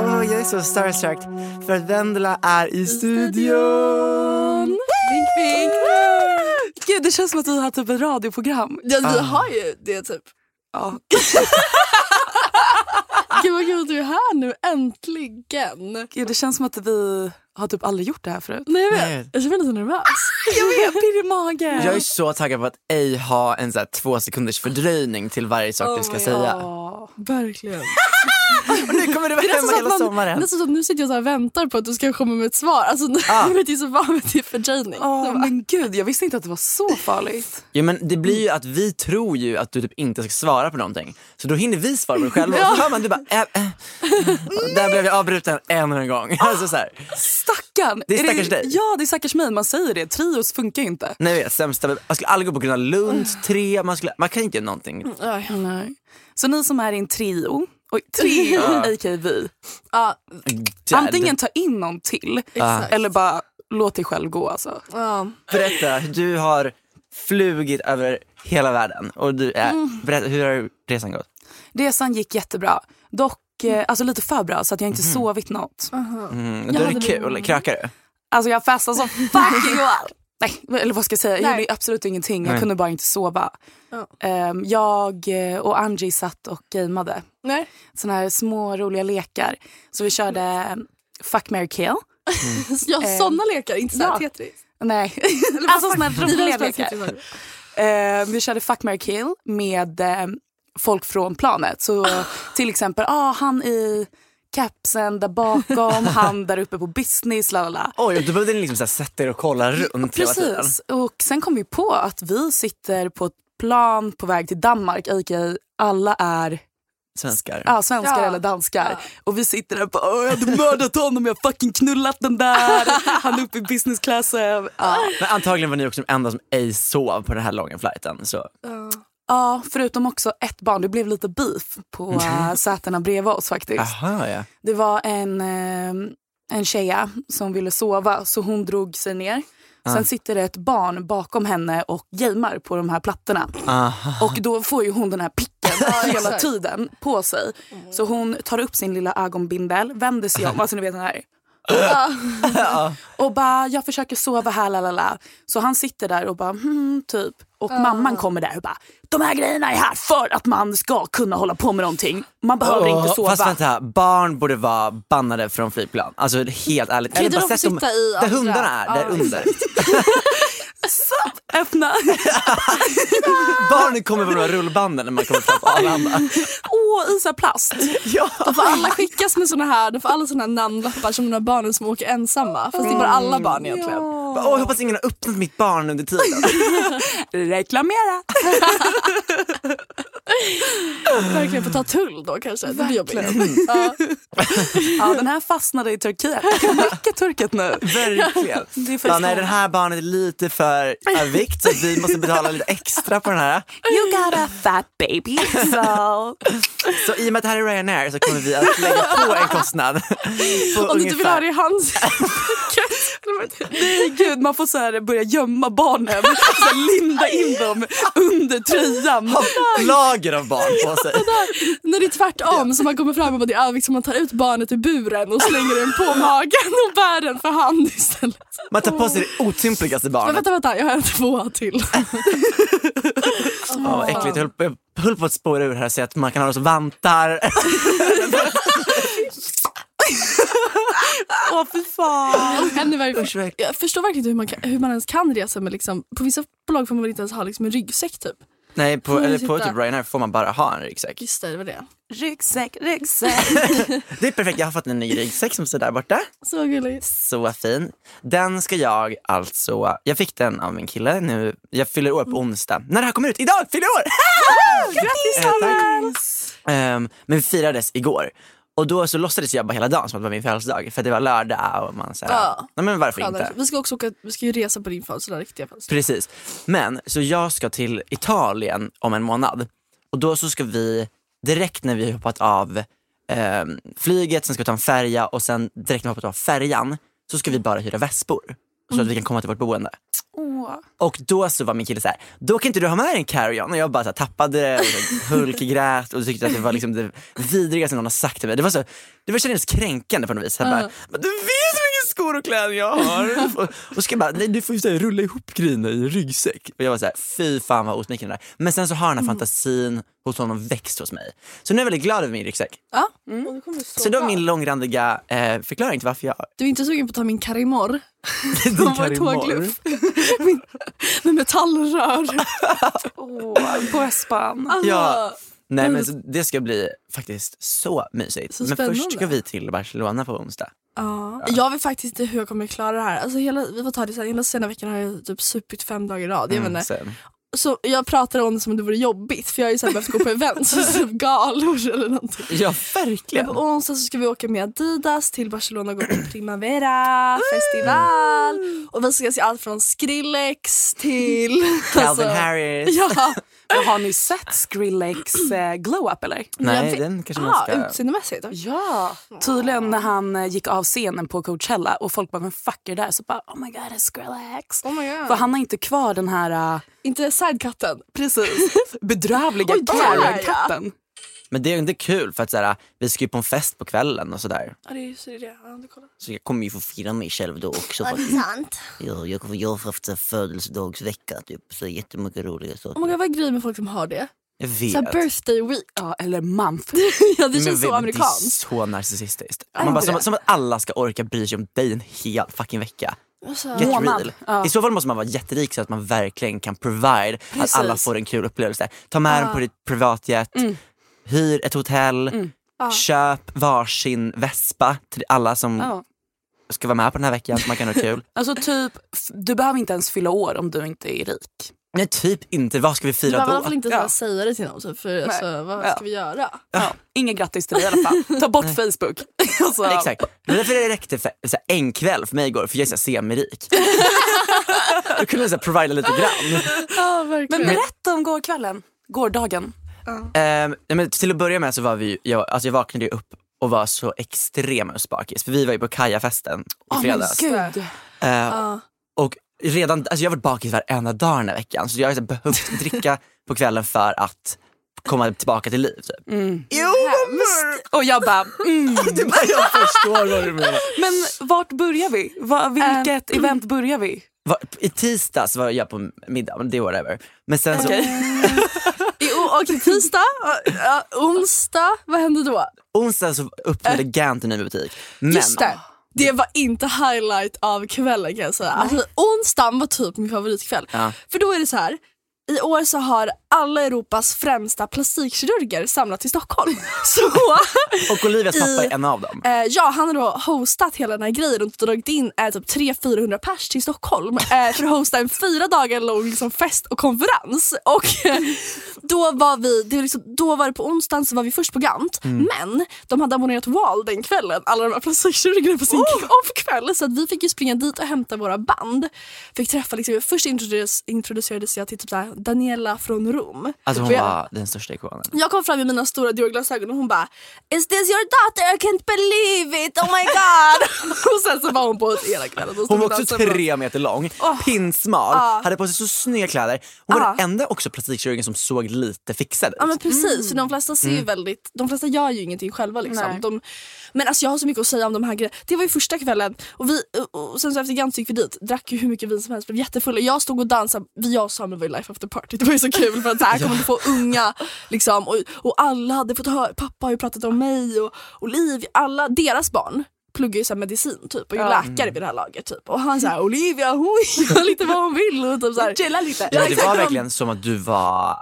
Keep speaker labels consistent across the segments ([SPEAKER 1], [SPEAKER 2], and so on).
[SPEAKER 1] Åh, jag är så starstruck för att Vendela är i studion.
[SPEAKER 2] Vink, vink. Gud, det känns som att vi har typ ett radioprogram.
[SPEAKER 3] Ja, vi har ju det typ.
[SPEAKER 2] Ja.
[SPEAKER 3] Gud vad kul att du är här nu, äntligen.
[SPEAKER 2] Gud, det känns som att vi har typ aldrig gjort det här förut.
[SPEAKER 3] Nej, jag
[SPEAKER 1] Nej.
[SPEAKER 3] vet. Jag känner mig lite nervös.
[SPEAKER 2] Jag vet, pirr i magen.
[SPEAKER 1] Jag är så taggad på att ej ha en så här två sekunders fördröjning till varje sak du
[SPEAKER 3] Oh
[SPEAKER 1] ska säga.
[SPEAKER 2] Ja.
[SPEAKER 3] Verkligen.
[SPEAKER 1] Och nu kommer du vara
[SPEAKER 3] Det är
[SPEAKER 1] hemma
[SPEAKER 3] nästan
[SPEAKER 1] hela
[SPEAKER 3] så att man-
[SPEAKER 1] sommaren.
[SPEAKER 3] Nästan så att nu sitter jag så här och väntar på att du ska komma med ett svar. Alltså,
[SPEAKER 1] Ah.
[SPEAKER 3] Jag vet, jag är så van vid din fördröjning.
[SPEAKER 2] Åh,
[SPEAKER 3] Så bara,
[SPEAKER 2] men gud, jag visste inte att det var så farligt.
[SPEAKER 1] Ja, men det blir ju att vi tror ju att du typ inte ska svara på någonting. Så då hinner vi svara på det själva. Och så hör man du bara... Äh, äh. Och Där blev jag avbruten ännu en gång.
[SPEAKER 3] Ah!
[SPEAKER 1] Alltså så här.
[SPEAKER 2] Stackarn!
[SPEAKER 1] Det är stackars dig.
[SPEAKER 2] Ja, det är stackars mig. Man säger det. Trios funkar ju inte.
[SPEAKER 1] Nej, jag vet, sämsta. Man skulle aldrig gå på Gröna Lund,
[SPEAKER 3] Ah.
[SPEAKER 1] tre. Man, skulle, man kan inte göra någonting.
[SPEAKER 3] aj.
[SPEAKER 2] Nej. Så ni som är i en trio, och trio, a.k.a. vi.
[SPEAKER 3] Ja,
[SPEAKER 1] Dad,
[SPEAKER 2] Antingen ta in någon till
[SPEAKER 3] exakt.
[SPEAKER 2] eller bara låt dig själv gå. Alltså.
[SPEAKER 3] Ja.
[SPEAKER 1] Berätta, du har flugit över hela världen. Och du är,
[SPEAKER 3] Mm.
[SPEAKER 1] berätta, hur har resan gått?
[SPEAKER 2] Resan gick jättebra. Dock eh, alltså lite för bra så att jag inte sovit något.
[SPEAKER 1] Mm, då är det kul. Krökar du?
[SPEAKER 2] Alltså jag festade som fucking well. Nej, eller vad ska jag säga? Jag
[SPEAKER 3] Nej.
[SPEAKER 2] gjorde absolut ingenting. Jag
[SPEAKER 1] Nej.
[SPEAKER 2] kunde bara inte sova.
[SPEAKER 3] Ja.
[SPEAKER 2] Ehm, jag eh, och Angie satt och gameade.
[SPEAKER 3] Nej.
[SPEAKER 2] Såna här små roliga lekar. Så vi körde eh, fuck, marry, kill.
[SPEAKER 3] Ja, sådana lekar, inte så här
[SPEAKER 2] ja.
[SPEAKER 3] Tetris.
[SPEAKER 2] Nej, alltså såna här roliga lekar.
[SPEAKER 3] lekar.
[SPEAKER 2] Eh, vi körde Fuck, marry, kill med eh, folk från planet. Så till exempel, ah, han i kapsen där bakom, han där uppe på business, la la la.
[SPEAKER 1] Oj, och då behövde ni liksom så här sätta er och kolla runt hela tiden.
[SPEAKER 2] Precis, och sen kom vi på att vi sitter på ett plan på väg till Danmark, a.k.a. alla är
[SPEAKER 1] Svenskar.
[SPEAKER 2] ah, svenskar
[SPEAKER 3] Ja.
[SPEAKER 2] eller danskar. Och vi sitter där och bara, "Åh, jag hade mördat honom, jag har fucking knullat den där, han är uppe i business class. Ja.
[SPEAKER 1] Men antagligen var ni också de enda som ej sov på den här långa flighten. Så.
[SPEAKER 2] Ja, förutom också ett barn. Det blev lite beef på äh, sätena bredvid oss faktiskt.
[SPEAKER 1] Aha, ja.
[SPEAKER 2] Det var en, eh, en tjeja som ville sova så hon drog sig ner. Sen sitter det ett barn bakom henne och gamear på de här plattorna.
[SPEAKER 1] Aha.
[SPEAKER 2] Och då får ju hon den här picken hela
[SPEAKER 3] exakt. Mm.
[SPEAKER 2] tiden på sig. Så hon tar upp sin lilla ögonbindel, vänder sig om, alltså ni vet den här. och bara, jag försöker sova här, la la la. Så han sitter där och bara, hmm, typ. Och mamman kommer där och bara, de här grejerna är här för att man ska kunna hålla på med någonting. Man behöver inte sova.
[SPEAKER 1] Fast vänta, barn borde vara bannade från flygplan. Alltså helt ärligt.
[SPEAKER 3] inte de få sitta i
[SPEAKER 1] där
[SPEAKER 3] andra?
[SPEAKER 1] hundarna är, där
[SPEAKER 3] Ja.
[SPEAKER 1] under.
[SPEAKER 2] Öppna.
[SPEAKER 1] Barnen kommer på de här rullbanden när man kommer fram på Arlanda.
[SPEAKER 2] Åh, i så här plast.
[SPEAKER 1] Ja.
[SPEAKER 3] Då får alla skickas med såna här, då får alla såna här namnlappar som de där barnen som åker ensamma. Fast det är bara alla barn egentligen.
[SPEAKER 1] Åh, jag hoppas ingen har öppnat mitt barn under tiden.
[SPEAKER 2] Reklamera.
[SPEAKER 3] Verkligen får ta tull då kanske. Det blir jobbigt. Ja.
[SPEAKER 2] Ja, den här fastnade i Turkiet. Mycket turket nu.
[SPEAKER 1] Verkligen.
[SPEAKER 2] Det
[SPEAKER 1] Ja,
[SPEAKER 2] är faktiskt
[SPEAKER 1] nej, den här barnet är lite för av vikt så vi måste betala lite extra på den här.
[SPEAKER 2] You got a fat baby. So.
[SPEAKER 1] Så i och med att det här är Ryanair så kommer vi att lägga på en kostnad. På
[SPEAKER 3] Om du inte vill ha
[SPEAKER 1] ungefär-
[SPEAKER 3] det i hans...
[SPEAKER 2] Nej, gud, man får så här börja gömma barnen. Så här linda in dem under tröjan.
[SPEAKER 1] Lager höger av barn på sig.
[SPEAKER 3] När det är tvärtom så man kommer fram och bara, det är, liksom, man tar ut barnet ur buren och slänger den på magen och bär den för hand istället.
[SPEAKER 1] Man tar på sig det otympligaste
[SPEAKER 3] Men
[SPEAKER 1] barnet.
[SPEAKER 3] vänta, vänta, jag har en tvåa till.
[SPEAKER 1] Ja, vad äckligt. Jag höll, på- jag höll på att spåra ur här och säga att man kan ha det som vantar.
[SPEAKER 2] Åh fy fan.
[SPEAKER 3] Ännu värre.
[SPEAKER 1] Usch, vad äckligt.
[SPEAKER 3] Jag förstår verkligen inte hur man, kan, hur man ens kan resa med liksom, på vissa bolag får man väl inte ens ha liksom, en ryggsäck typ.
[SPEAKER 1] Nej, på,
[SPEAKER 3] Får
[SPEAKER 1] eller
[SPEAKER 3] vi
[SPEAKER 1] på
[SPEAKER 3] sitta?
[SPEAKER 1] typ Ryanair får man bara ha en ryggsäck.
[SPEAKER 3] Just det, det var det.
[SPEAKER 2] Ryggsäck, ryggsäck.
[SPEAKER 1] Det är perfekt. Jag har fått en ny ryggsäck som står där borta.
[SPEAKER 3] Så gulligt.
[SPEAKER 1] Så fin. Den ska jag alltså... Jag fick den av min kille nu. Jag fyller år på onsdag. När det här kommer ut, idag fyller jag år!
[SPEAKER 2] Grattis
[SPEAKER 1] Eh, tack.
[SPEAKER 2] Samuel!
[SPEAKER 1] Ehm, men vi firades igår. Och då så låtsades jag bara hela dagen som att det var min födelsedag. För att det var lördag och man såhär,
[SPEAKER 3] Ja.
[SPEAKER 1] nej men varför inte?
[SPEAKER 3] Skönare. Vi ska också åka, vi ska ju resa på din födelsedag, riktiga födelsedag.
[SPEAKER 1] Precis. Men så jag ska till Italien om en månad. Och då så ska vi, direkt när vi har hoppat av ehm, flyget, sen ska vi ta en färja och sen direkt när vi har hoppat av färjan så ska vi bara hyra vespor. Så att vi kan komma till vårt boende.
[SPEAKER 2] Åh.
[SPEAKER 1] Och då så var min kille så här, då kan inte du ha med dig en carry-on. Och jag bara så här, tappade det, och så hulkgrät och tyckte att det var liksom det vidrigaste någon har sagt till mig. Det var så, det var kändes kränkande på något vis. Jag bara, men du vet hur mycket skor och kläder jag har. och, och ska bara, nej du får ju så här, rulla ihop grejerna i en ryggsäck. Och jag var så här, fy fan vad osmickrande det där. Men sen så har
[SPEAKER 3] Mm.
[SPEAKER 1] den här fantasin hos honom växt hos mig. Så nu är jag väldigt glad över min ryggsäck.
[SPEAKER 3] Ja. Och det kommer bli
[SPEAKER 1] Så det var
[SPEAKER 3] bra.
[SPEAKER 1] min långrandiga eh, förklaring till varför jag
[SPEAKER 3] Du är inte sugen på att ta min karimor?
[SPEAKER 1] din
[SPEAKER 3] Som var
[SPEAKER 1] carry-on.
[SPEAKER 3] tågluff. min, med metallrör.
[SPEAKER 2] Åh, Bröstband.
[SPEAKER 3] Alltså,
[SPEAKER 1] Ja. Nej men så det ska bli faktiskt så mysigt.
[SPEAKER 3] Så
[SPEAKER 1] men först
[SPEAKER 3] spännande.
[SPEAKER 1] ska vi till Barcelona på onsdag.
[SPEAKER 3] ja. Jag vet faktiskt inte hur jag kommer klara det här. Alltså, hela, vi får ta det sen. Hela sena veckan har jag typ supit fem dagar i rad. Jag, vet inte.
[SPEAKER 1] Mm, sen.
[SPEAKER 3] så jag pratar om det som om det vore jobbigt för jag har ju så här behövt gå på event, så typ galor eller någonting.
[SPEAKER 1] Ja
[SPEAKER 3] Men
[SPEAKER 1] verkligen.
[SPEAKER 3] på onsdag så ska vi åka med Adidas till Barcelona och gå på
[SPEAKER 1] Mm.
[SPEAKER 3] Primavera festival. Och vi ska se allt från Skrillex till... alltså,
[SPEAKER 1] Calvin Harris.
[SPEAKER 3] Ja,
[SPEAKER 2] Men Har ni sett Skrillex eh, glow-up eller?
[SPEAKER 1] Nej
[SPEAKER 3] jag vet-
[SPEAKER 1] den kanske man
[SPEAKER 3] ah,
[SPEAKER 1] ska...
[SPEAKER 3] utseendemässigt.
[SPEAKER 2] Ja. Tydligen när han eh, gick av scenen på Coachella och folk bara, vem fuck är det där? Så bara, oh my god, it's Skrillex.
[SPEAKER 3] Oh my god.
[SPEAKER 2] För han har inte kvar den här eh,
[SPEAKER 3] Inte sidecutten.
[SPEAKER 2] precis bedrövliga
[SPEAKER 3] Oj, där, ja.
[SPEAKER 2] Karen-katten.
[SPEAKER 1] Men det är ju inte kul för att såhär, vi ska ju på en fest på kvällen och sådär.
[SPEAKER 3] Ja, det är ju så det är det. Ja, du kollar.
[SPEAKER 1] Så jag kommer ju få fira mig själv då också. faktiskt.
[SPEAKER 3] sant.
[SPEAKER 4] Ja, jag, kommer- jag har haft en födelsedagsvecka typ, så jättemycket roliga
[SPEAKER 3] Oh my
[SPEAKER 4] saker.
[SPEAKER 3] god, vad grejer med folk som har det.
[SPEAKER 1] Jag
[SPEAKER 3] Så
[SPEAKER 1] vet.
[SPEAKER 3] här birthday week.
[SPEAKER 2] Ja, eller month.
[SPEAKER 3] ja,
[SPEAKER 1] Men
[SPEAKER 3] det känns
[SPEAKER 1] vet-
[SPEAKER 3] så
[SPEAKER 1] Det
[SPEAKER 3] amerikanskt.
[SPEAKER 1] är så narcissistiskt.
[SPEAKER 3] Är
[SPEAKER 1] Man bara,
[SPEAKER 3] inte
[SPEAKER 1] som,
[SPEAKER 3] det?
[SPEAKER 1] som att alla ska orka bry sig om dig en hel fucking vecka.
[SPEAKER 3] Alltså,
[SPEAKER 1] Get
[SPEAKER 2] Månad.
[SPEAKER 1] real.
[SPEAKER 2] Ja.
[SPEAKER 1] I så fall måste man vara jätterik så att man verkligen kan provide
[SPEAKER 2] Precis.
[SPEAKER 1] att alla får en kul upplevelse. Ta med dem på ditt privatjet,
[SPEAKER 2] Mm.
[SPEAKER 1] hyr ett hotell, köp varsin vespa till alla som
[SPEAKER 2] Ja.
[SPEAKER 1] ska vara med på den här veckan så man kan ha kul.
[SPEAKER 2] Alltså typ, f- du behöver inte ens fylla år om du inte är rik.
[SPEAKER 1] Nej typ inte, vad ska vi
[SPEAKER 3] Du
[SPEAKER 1] fira
[SPEAKER 3] behöver i
[SPEAKER 1] då?
[SPEAKER 3] alla fall inte
[SPEAKER 2] Ja.
[SPEAKER 3] ja. säga det till någon, så för alltså, vad
[SPEAKER 2] Ja.
[SPEAKER 3] ska vi göra?
[SPEAKER 1] Ah.
[SPEAKER 2] Ja. Inget grattis till dig i alla fall. Ta bort Facebook. Alltså,
[SPEAKER 1] Exakt, det är därför det räckte för så här, en kväll för mig igår för jag är så här semirik. Du kunde så här, provida lite grann.
[SPEAKER 3] Ja,
[SPEAKER 2] Men
[SPEAKER 3] verkligen.
[SPEAKER 1] Mm.
[SPEAKER 2] berätta om gårkvällen. Gårdagen.
[SPEAKER 1] Ehm, nej, men till att börja med så var vi ju, jag, alltså jag vaknade ju upp och var så extremt bakis för vi var ju på Kajafesten i
[SPEAKER 3] men
[SPEAKER 1] fredags.
[SPEAKER 2] Ah, Gud.
[SPEAKER 1] Eh, Och redan, alltså jag har varit bakis varenda dag den här veckan så jag har så här behövt dricka på kvällen för att komma tillbaka till liv. Typ.
[SPEAKER 3] Mm.
[SPEAKER 2] Jo, Och jag bara, mm.
[SPEAKER 1] Det bara, jag förstår vad du menar.
[SPEAKER 2] men vart börjar vi? Va, vilket
[SPEAKER 3] Ehm.
[SPEAKER 2] event börjar vi?
[SPEAKER 1] Va- I tisdags var jag på middag, men det är whatever. Men sen så,
[SPEAKER 3] Jo, Okej, tisdag, ja, onsdag, vad hände då?
[SPEAKER 1] onsdag så öppnade Gant en ny butik. Men,
[SPEAKER 3] Just det. Det var inte highlight av kvällen kan jag säga. Alltså, onsdagen var typ min favoritkväll.
[SPEAKER 1] Ja.
[SPEAKER 3] För då är det så här. I år så har alla Europas främsta plastikkirurger samlat till Stockholm. Så
[SPEAKER 1] Och Olivias pappa
[SPEAKER 3] I-
[SPEAKER 1] är en av dem.
[SPEAKER 3] eh, ja, han har då hostat hela den här grejen och dragit in eh, typ 300-400 pers till Stockholm eh, för att hosta en fyra dagar lång liksom, fest och konferens. Och eh, då var vi, det var liksom, då var det på onsdagen så var vi först på Gant
[SPEAKER 1] Mm.
[SPEAKER 3] men de hade abonnerat Wall den kvällen, alla de här plastikkirurgerna på sin
[SPEAKER 1] Oh!
[SPEAKER 3] off-kväll så att vi fick ju springa dit och hämta våra band. Fick träffa, liksom, först introducerades, introducerades jag till typ så här, Daniela från Rom.
[SPEAKER 1] Alltså
[SPEAKER 3] Och
[SPEAKER 1] hon
[SPEAKER 3] jag-
[SPEAKER 1] var den största ikonen.
[SPEAKER 3] jag kom fram med mina stora Dior-glasögon och hon bara Is this your daughter? I can't believe it! Oh my god! och sen så var hon på hela kvällen. och stod
[SPEAKER 1] Hon
[SPEAKER 3] och
[SPEAKER 1] var också
[SPEAKER 3] dansade med oss.
[SPEAKER 1] tre meter lång, pinsmal, hade på sig så snygga kläder. Hon var den enda också plastikkirurgen som såg lite fixade ut.
[SPEAKER 3] Ja men precis, för de flesta ser ju väldigt, de flesta gör ju ingenting själva liksom.
[SPEAKER 2] Nej.
[SPEAKER 3] De, men alltså jag har så mycket att säga om de här grejerna. Det var ju första kvällen och, vi, och och sen så efter Gans gick vi dit, drack ju hur mycket vin som helst, blev jättefulla. Jag stod och dansade, vi jag och Samuel var ju life after party. Det var ju så kul för att så här kommer du få unga liksom och, och alla hade fått höra, pappa har ju pratat om mig och Olivia, alla deras barn pluggar ju så här medicin typ och är läkare vid det här laget typ och han såhär Olivia hon gör lite vad hon vill och typ så här.
[SPEAKER 2] Chilla lite.
[SPEAKER 1] Ja, det
[SPEAKER 3] exakt,
[SPEAKER 1] var
[SPEAKER 3] de-
[SPEAKER 1] verkligen som att du var...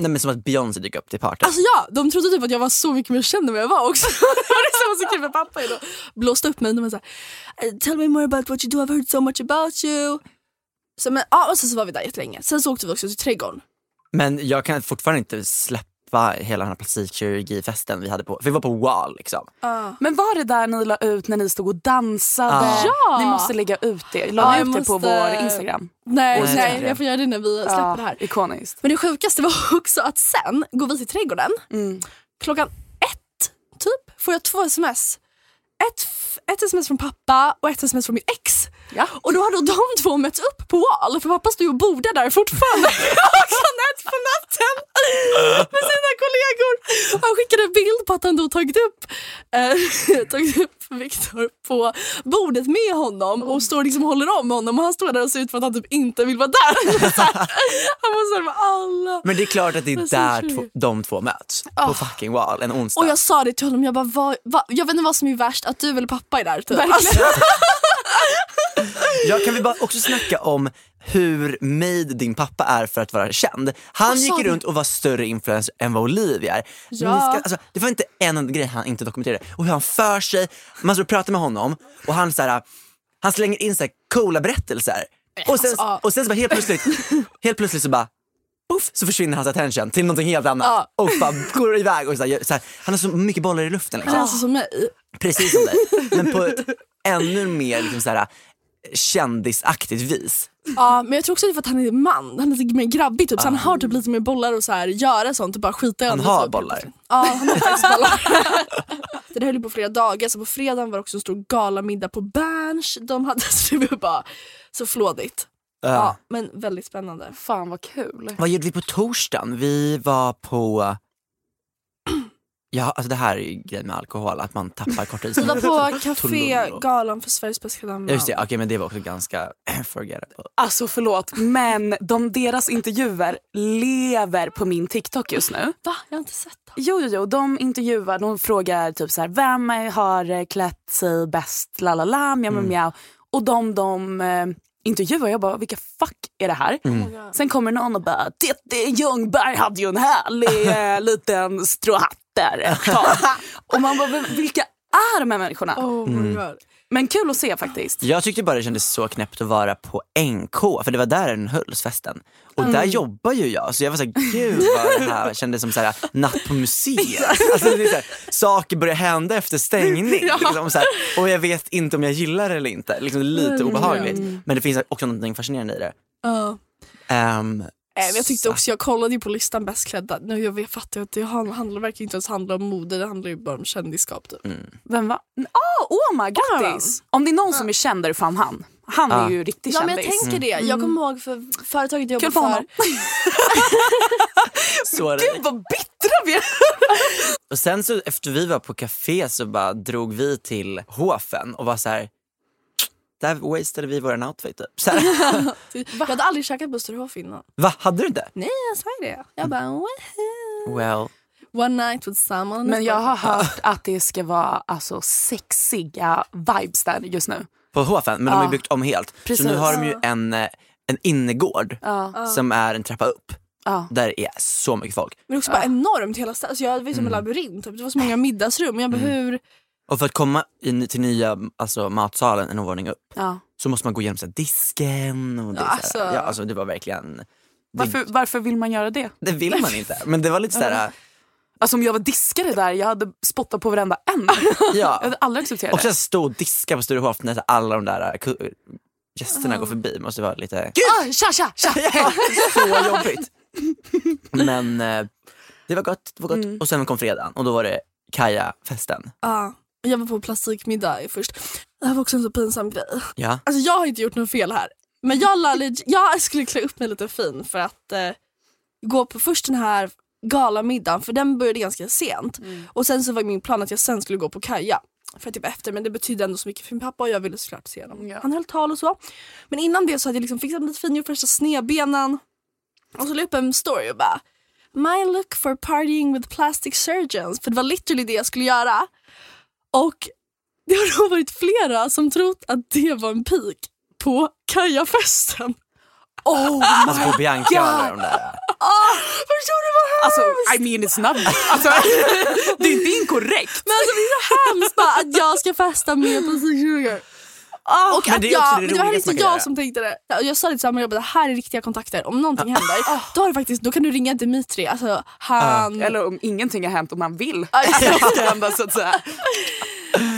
[SPEAKER 1] Nej men som att Beyoncé dök upp till partyt.
[SPEAKER 3] Alltså ja, de trodde typ att jag var så mycket mer känd än vad jag var också. det var så kul med pappa idag. Blåste upp mig när man sa "Eh, Tell me more about what you do, I've heard so much about you. Så, men, ja, och sen så var vi där jättelänge. Sen så åkte vi också till trädgården.
[SPEAKER 1] Men jag kan fortfarande inte släppa hela den här plastikkirurgifesten vi hade på, för vi var på wall liksom.
[SPEAKER 2] Men var det där ni la ut när ni stod och dansade?
[SPEAKER 1] Ja.
[SPEAKER 3] Ja.
[SPEAKER 2] Ni måste lägga ut det.
[SPEAKER 3] Ja,
[SPEAKER 2] La ni
[SPEAKER 3] jag
[SPEAKER 2] ut det på
[SPEAKER 3] måste-
[SPEAKER 2] vår Instagram?
[SPEAKER 3] Nej,
[SPEAKER 1] Oj,
[SPEAKER 3] nej,
[SPEAKER 1] verkligen.
[SPEAKER 3] jag får göra det när vi släpper det här.
[SPEAKER 2] Ikoniskt.
[SPEAKER 3] Men det sjukaste var också att sen går vi till trädgården. Klockan ett typ får jag två sms. Ett, f- ett sms från pappa och ett sms från mitt ex.
[SPEAKER 2] Ja.
[SPEAKER 3] Och då har då de två mötts upp på Wall för pappa står ju och bordar där fortfarande klockan ett på natten med sina kollegor. Han skickade en bild på att han då tagit upp, eh, tagit upp Viktor på bordet med honom och står liksom och håller om honom och han står där och ser ut för att han typ inte vill vara där. Så här, han var såhär med alla.
[SPEAKER 1] Men det är klart att det är
[SPEAKER 3] Alltså,
[SPEAKER 1] där
[SPEAKER 3] sjukt.
[SPEAKER 1] två, de två möts. På fucking wall en onsdag.
[SPEAKER 3] Och jag sa det till honom, jag bara, vad, vad, jag vet inte vad som är värst, att du eller pappa är där. Typ. Alltså,
[SPEAKER 1] Ja, kan vi bara också snacka om hur made din pappa är för att vara känd? Han
[SPEAKER 3] Vad sa
[SPEAKER 1] gick ju
[SPEAKER 3] du?
[SPEAKER 1] runt och var större influencer än vad Olivia är. Ni Ska,
[SPEAKER 3] Alltså, Ja.
[SPEAKER 1] alltså, det var inte en enda grej han inte dokumenterade. Och hur han för sig, man står och pratar med honom och han, så här, han slänger in så här, coola berättelser. Och sen,
[SPEAKER 3] Alltså, ja.
[SPEAKER 1] och sen så bara helt plötsligt, helt plötsligt så bara Puff, så försvinner hans attention till någonting helt annat
[SPEAKER 3] Ja.
[SPEAKER 1] och bara går iväg. Och så här, gör- så här, han har så mycket bollar i luften. Liksom.
[SPEAKER 3] känns det som mig.
[SPEAKER 1] Precis som dig, men på ett ännu mer liksom så här, kändisaktigt vis.
[SPEAKER 3] Ja, men jag tror också det är för att han är man. Han är lite mer grabbig typ. Så han har typ lite mer bollar och så här göra sånt och bara skita i
[SPEAKER 1] Han
[SPEAKER 3] andra,
[SPEAKER 1] har
[SPEAKER 3] typ.
[SPEAKER 1] bollar.
[SPEAKER 3] Ja, han har faktiskt bollar. det där höll ju på flera dagar. Så på fredagen var det också en stor galamiddag på Berns. De hade så det var bara så flådigt.
[SPEAKER 1] Ja.
[SPEAKER 3] Ja, men väldigt spännande.
[SPEAKER 2] Fan vad kul.
[SPEAKER 1] Eh, Vad gjorde vi på torsdagen? Vi var på... Ja, alltså det här är ju grejen med alkohol, att man tappar
[SPEAKER 3] Vi var
[SPEAKER 1] korttidsminnet.
[SPEAKER 3] på
[SPEAKER 1] Tullulo.
[SPEAKER 3] Café-galan för Sveriges bästa
[SPEAKER 1] Ja, Just det,
[SPEAKER 3] namn.
[SPEAKER 1] okej men det var också ganska forgettable.
[SPEAKER 2] Alltså förlåt men de, deras intervjuer lever på min TikTok just nu.
[SPEAKER 3] Va? Jag har inte sett det.
[SPEAKER 2] Jo, jo, jo. De intervjuar, de frågar typ så här, vem har eh, klätt sig bäst, la la la, mjau, mjau, mjau. Och de de eh, intervjuar, jag bara, vilka fuck är det här? Sen kommer någon och bara, Titti Ljungberg hade ju en härlig eh, liten stråhatt där ett tag. Och man bara, "Vem- vilka är de här människorna?
[SPEAKER 3] Oh
[SPEAKER 1] Mm.
[SPEAKER 3] my god.
[SPEAKER 2] Men kul att se faktiskt.
[SPEAKER 1] Jag tyckte bara det kändes så knäppt att vara på NK, för det var där den hölls, festen. Och där jobbar ju jag, så jag var såhär, gud vad det här kändes som såhär, natt på museet. Alltså, det är såhär, saker börjar hända efter stängning. Liksom, såhär, och jag vet inte om jag gillar det eller inte. Liksom, lite obehagligt. Men det finns också någonting fascinerande i det.
[SPEAKER 3] Ja.
[SPEAKER 1] Ehm,
[SPEAKER 3] Nej, Eh, men jag tyckte
[SPEAKER 1] Så-
[SPEAKER 3] också, jag kollade ju på listan bäst klädda. Nu jag vet, fattar ju att det han- handlar, verkar inte ens handla om mode, det handlar ju bara om kändisskap typ.
[SPEAKER 2] Mm. Vem var? Ah, Oma, grattis! Om det är någon som är känd är det fan han. Han är
[SPEAKER 1] Ah.
[SPEAKER 2] ju riktig
[SPEAKER 3] Ja men
[SPEAKER 2] kändis.
[SPEAKER 3] jag tänker det. Jag kommer ihåg för företaget jag
[SPEAKER 2] Kul
[SPEAKER 3] jobbade
[SPEAKER 2] för
[SPEAKER 3] för.
[SPEAKER 2] honom.
[SPEAKER 1] så är det.
[SPEAKER 2] Gud vad bittra vi är.
[SPEAKER 1] Och sen så efter vi var på café så bara drog vi till Hofen och var så här. Där wastade vi våran outfit typ. Så här,
[SPEAKER 3] Jag hade aldrig käkat på Sturehof innan.
[SPEAKER 1] Va, hade du inte?
[SPEAKER 3] Nej Typ. jag sa ju det. Jag bara "Woohoo."
[SPEAKER 1] Well.
[SPEAKER 3] One night with someone.
[SPEAKER 2] Men jag har hört att det ska vara alltså, sexiga vibes där just nu.
[SPEAKER 1] På Hofen, men de har ju byggt om helt.
[SPEAKER 2] Precis.
[SPEAKER 1] Så nu har de ju en, eh, en innergård som är en trappa upp.
[SPEAKER 2] Ja.
[SPEAKER 1] Där det är så mycket folk.
[SPEAKER 3] Men också bara enormt hela stället. Alltså, jag var som en
[SPEAKER 2] Mm.
[SPEAKER 3] labyrint. Typ. Det var så många middagsrum. Jag bara hur?
[SPEAKER 1] Och för att komma in till nya alltså, matsalen en våning upp
[SPEAKER 2] Ja.
[SPEAKER 1] så måste man gå igenom så här, disken. Och det,
[SPEAKER 3] Ja,
[SPEAKER 1] ja,
[SPEAKER 3] alltså.
[SPEAKER 1] så här, ja, alltså, det var verkligen,
[SPEAKER 2] Varför, varför vill man göra det?
[SPEAKER 1] det vill man inte. Men det var lite så här,
[SPEAKER 2] Alltså, om jag var diskare där, jag hade spottat på varenda en. Jag
[SPEAKER 1] ja.
[SPEAKER 2] hade aldrig accepterat
[SPEAKER 1] Och
[SPEAKER 2] det.
[SPEAKER 1] sen stå och diska på Sturehof när alla de där äh, ku- gästerna går förbi. Måste vara lite
[SPEAKER 2] Ah, tja, tja, tja.
[SPEAKER 1] så jobbigt. Men eh, det var gott. Det var gott. Och sen kom fredagen och då var det Kaja-festen.
[SPEAKER 3] Ja. Jag var på plastikmiddag först. Det här var också en så pinsam grej.
[SPEAKER 1] Ja.
[SPEAKER 3] Alltså jag har inte gjort något fel här. Men jag, la, leg- jag skulle klä upp mig lite fin för att eh, gå på först den här galamiddagen för den började ganska sent och sen så var min plan att jag sen skulle gå på kaja för typ efter men det betydde ändå så mycket för min pappa och jag ville såklart se honom.
[SPEAKER 2] Ja.
[SPEAKER 3] Han höll tal och så. Men innan det så hade jag liksom fixat mig lite fin, gjort värsta snedbenan och så la jag upp en story och bara My look for partying with plastic surgeons för det var literally det jag skulle göra. Och det har nog varit flera som trott att det var en pik på Kajafesten.
[SPEAKER 2] Oh,
[SPEAKER 1] Alltså på Bianca och alla de där.
[SPEAKER 3] Ah! Förstår du vad
[SPEAKER 2] alltså, I mean it's not... Alltså, det är inte inkorrekt.
[SPEAKER 3] Men alltså det är så hemskt bara att jag ska festa med plastikkirurger. Oh, och
[SPEAKER 1] men
[SPEAKER 3] att
[SPEAKER 1] det är också det
[SPEAKER 3] jag, men det var här
[SPEAKER 1] roligaste
[SPEAKER 3] inte
[SPEAKER 1] man kan
[SPEAKER 3] jag
[SPEAKER 1] göra.
[SPEAKER 3] som tänkte det. Ja, Jag sa det till samma jobb, det här är riktiga kontakter. Om någonting
[SPEAKER 1] Ah.
[SPEAKER 3] händer, då, har du faktiskt, då kan du ringa Dimitri. Alltså, han...
[SPEAKER 1] Ah.
[SPEAKER 2] Eller om ingenting har hänt om man vill
[SPEAKER 3] Ja,
[SPEAKER 2] att
[SPEAKER 3] exakt.
[SPEAKER 2] det ska hända så att säga.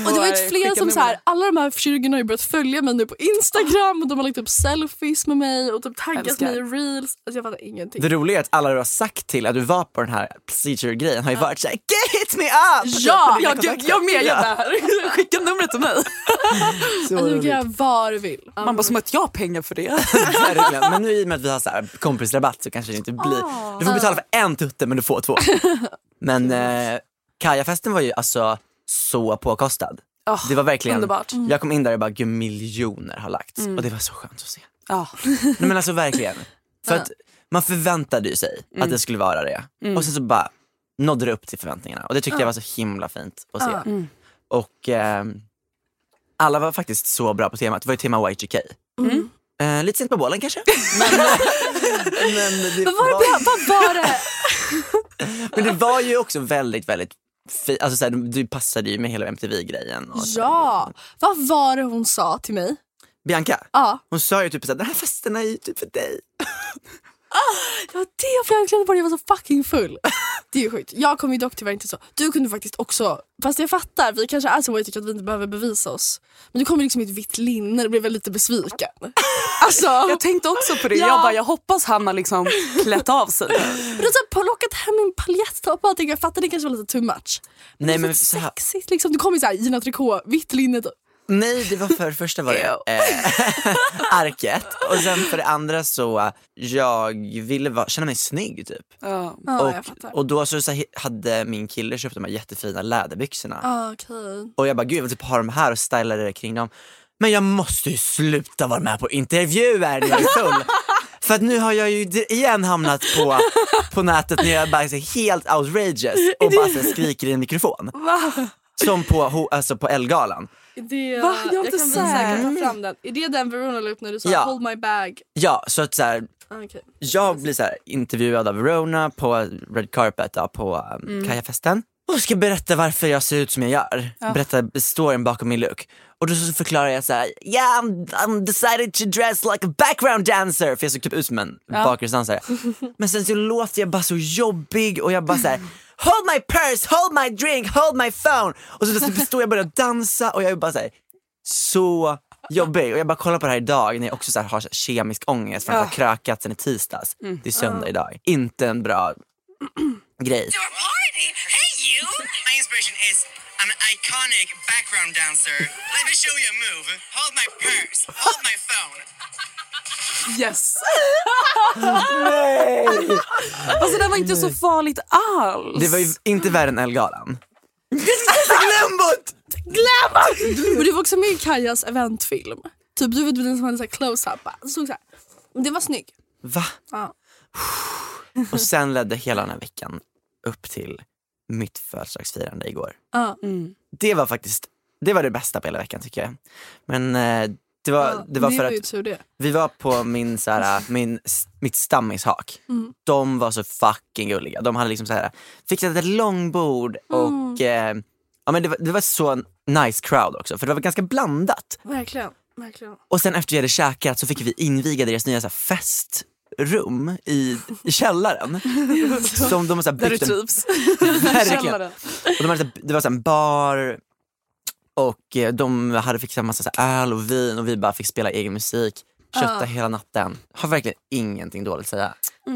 [SPEAKER 3] Och det var
[SPEAKER 2] Skicka
[SPEAKER 3] ju flera som
[SPEAKER 2] nummer.
[SPEAKER 3] så här, alla de här kirurgerna har ju börjat följa mig nu på Instagram och de har lagt upp selfies med mig och typ taggat
[SPEAKER 2] Älskar.
[SPEAKER 3] mig i reels. Alltså jag fattar ingenting.
[SPEAKER 1] Det roliga är att alla du har sagt till att du var på den här procedure-grejen har ju varit såhär “Get me up!” Alltså,
[SPEAKER 2] Ja, jag, jag,
[SPEAKER 1] kontakter.
[SPEAKER 2] jag med, jag är där. Skicka numret till mig.
[SPEAKER 3] Alltså, du kan göra vad du vill.
[SPEAKER 2] Man bara, som att jag har pengar för det.
[SPEAKER 1] Verkligen. Men nu i och med att vi har så här kompisrabatt så kanske det inte blir... Du får betala för en tutte men du får två. Men eh, Kajafesten var ju alltså så påkostad.
[SPEAKER 2] Oh,
[SPEAKER 1] Det var verkligen...
[SPEAKER 2] Underbart.
[SPEAKER 1] Jag kom in där och bara, gud miljoner har lagts. Och det var så skönt att se.
[SPEAKER 2] Ja.
[SPEAKER 1] Nej, men alltså verkligen. För att man förväntade ju sig
[SPEAKER 3] Mm.
[SPEAKER 1] att det skulle vara det. Och sen så bara nådde det upp till förväntningarna. Och det tyckte jag var så himla fint att se.
[SPEAKER 3] Mm.
[SPEAKER 1] Och ehm, alla var faktiskt så bra på temat. Det var ju tema Y2K.
[SPEAKER 3] Mm.
[SPEAKER 1] Eh, lite sent på bålen kanske. Men, men, det
[SPEAKER 3] Vad var eh, det,
[SPEAKER 1] var,
[SPEAKER 3] på- vad var det?
[SPEAKER 1] men det var ju också väldigt, väldigt fint. Alltså, så här, du passade ju med hela MTV-grejen. och så.
[SPEAKER 3] Ja, vad var det hon sa till mig?
[SPEAKER 1] Bianca,
[SPEAKER 3] Ja,
[SPEAKER 1] hon sa ju typ såhär, den här festen är ju typ för dig.
[SPEAKER 3] det var det för jag glömde bort. Jag var så fucking full. Det är ju sjukt. Jag kom ju dock tyvärr inte så. Du kunde faktiskt också, fast jag fattar, vi kanske är så white att vi inte behöver bevisa oss. Men du kom ju liksom i ett vitt linne, då blev jag lite besviken. Alltså,
[SPEAKER 2] Jag tänkte också på det.
[SPEAKER 3] Ja.
[SPEAKER 2] Jag bara, jag hoppas han har liksom klätt av sig.
[SPEAKER 3] men då så här, på- lockat hem min paljetttoppa och tänkte jag fattar det kanske var lite too much. Men
[SPEAKER 1] Nej,
[SPEAKER 3] det är
[SPEAKER 1] men
[SPEAKER 3] så
[SPEAKER 1] så här-
[SPEAKER 3] sexigt liksom. Du kom ju såhär Gina Tricot, vitt linne. typ.
[SPEAKER 1] Nej, det var för det första var det eh, arket och sen för det andra så eh, jag ville vara, känna mig snygg typ.
[SPEAKER 2] Ja.
[SPEAKER 3] Ja, jag fattar.
[SPEAKER 1] och, och då så, så här, hade min kille köpt de här jättefina läderbyxorna
[SPEAKER 3] Ah, Okej.
[SPEAKER 1] och jag bara gud jag vill typ ha dem här och styla det kring dem. Men jag måste ju sluta vara med på intervjuer när jag är full. För att nu har jag ju di- igen hamnat på, på nätet när jag bara är helt outrageous och bara så här, skriker i en mikrofon. Som på, ho- alltså på Elgalan.
[SPEAKER 3] Det,
[SPEAKER 2] Va? Jag är inte
[SPEAKER 3] kan
[SPEAKER 2] säker.
[SPEAKER 3] visa fram den. Är det den Verona la upp när du sa
[SPEAKER 1] Ja.
[SPEAKER 3] hold my bag?
[SPEAKER 1] Ja, så att så här,
[SPEAKER 3] Ah, Okej.
[SPEAKER 1] jag blir så här, intervjuad av Verona på Red Carpet då, på um, Kajafesten och ska berätta varför jag ser ut som jag gör. Berätta storyn bakom min look. Och då så förklarar jag så här, yeah I'm, I'm decided to dress like a background dancer. För jag såg typ ut som en bakgrundsdansare. Men sen så låter jag bara så jobbig och jag bara så här, hold my purse, hold my drink, hold my phone. Och så plötsligt står jag och börjar dansa och jag är bara så här, så jobbig. Och jag bara kollar på det här idag när jag också så här har så här kemisk ångest för att jag har krökat sen i tisdags. Det är söndag idag. Inte en bra grej.
[SPEAKER 5] Good morning. Hey, you. My inspiration is I'm an iconic background dancer. Let me show you a move. Hold my purse. Hold my phone.
[SPEAKER 2] Yes.
[SPEAKER 1] Nej!
[SPEAKER 2] Alltså det var inte så farligt alls.
[SPEAKER 1] Det var ju inte värre än Ellegalan. Glöm bort!
[SPEAKER 3] Men du var också med i Kajas eventfilm. Typ du var den som hade så här close-up. bara, såg så här. Men Det var snygg.
[SPEAKER 1] Va?
[SPEAKER 3] Ja.
[SPEAKER 1] Och sen ledde hela den här veckan upp till mitt födelsedagsfirande igår.
[SPEAKER 3] Ja.
[SPEAKER 1] Mm. Det var faktiskt det var det bästa på hela veckan tycker jag. Men eh, det var,
[SPEAKER 3] Ja,
[SPEAKER 1] det var för
[SPEAKER 3] är
[SPEAKER 1] att
[SPEAKER 3] ju tur det.
[SPEAKER 1] Vi var på min, så här, min, mitt stammishak. De var så fucking gulliga. De hade liksom så här, fixat ett långbord och eh, ja, men det, var, det var så en nice crowd också. För det var ganska blandat.
[SPEAKER 3] Verkligen. Verkligen.
[SPEAKER 1] Och sen efter vi hade käkat så fick vi inviga deras nya så här, festrum i, i källaren. som de har så här,
[SPEAKER 2] Där du typ
[SPEAKER 1] byggt en
[SPEAKER 2] trivs.
[SPEAKER 1] Verkligen.
[SPEAKER 2] Källaren.
[SPEAKER 1] Och de hade, så här- det var så här en bar och eh, de hade fixat massa så här öl och vin och vi bara fick spela egen musik. Kötta hela natten. Har verkligen ingenting dåligt att säga.
[SPEAKER 2] Åh.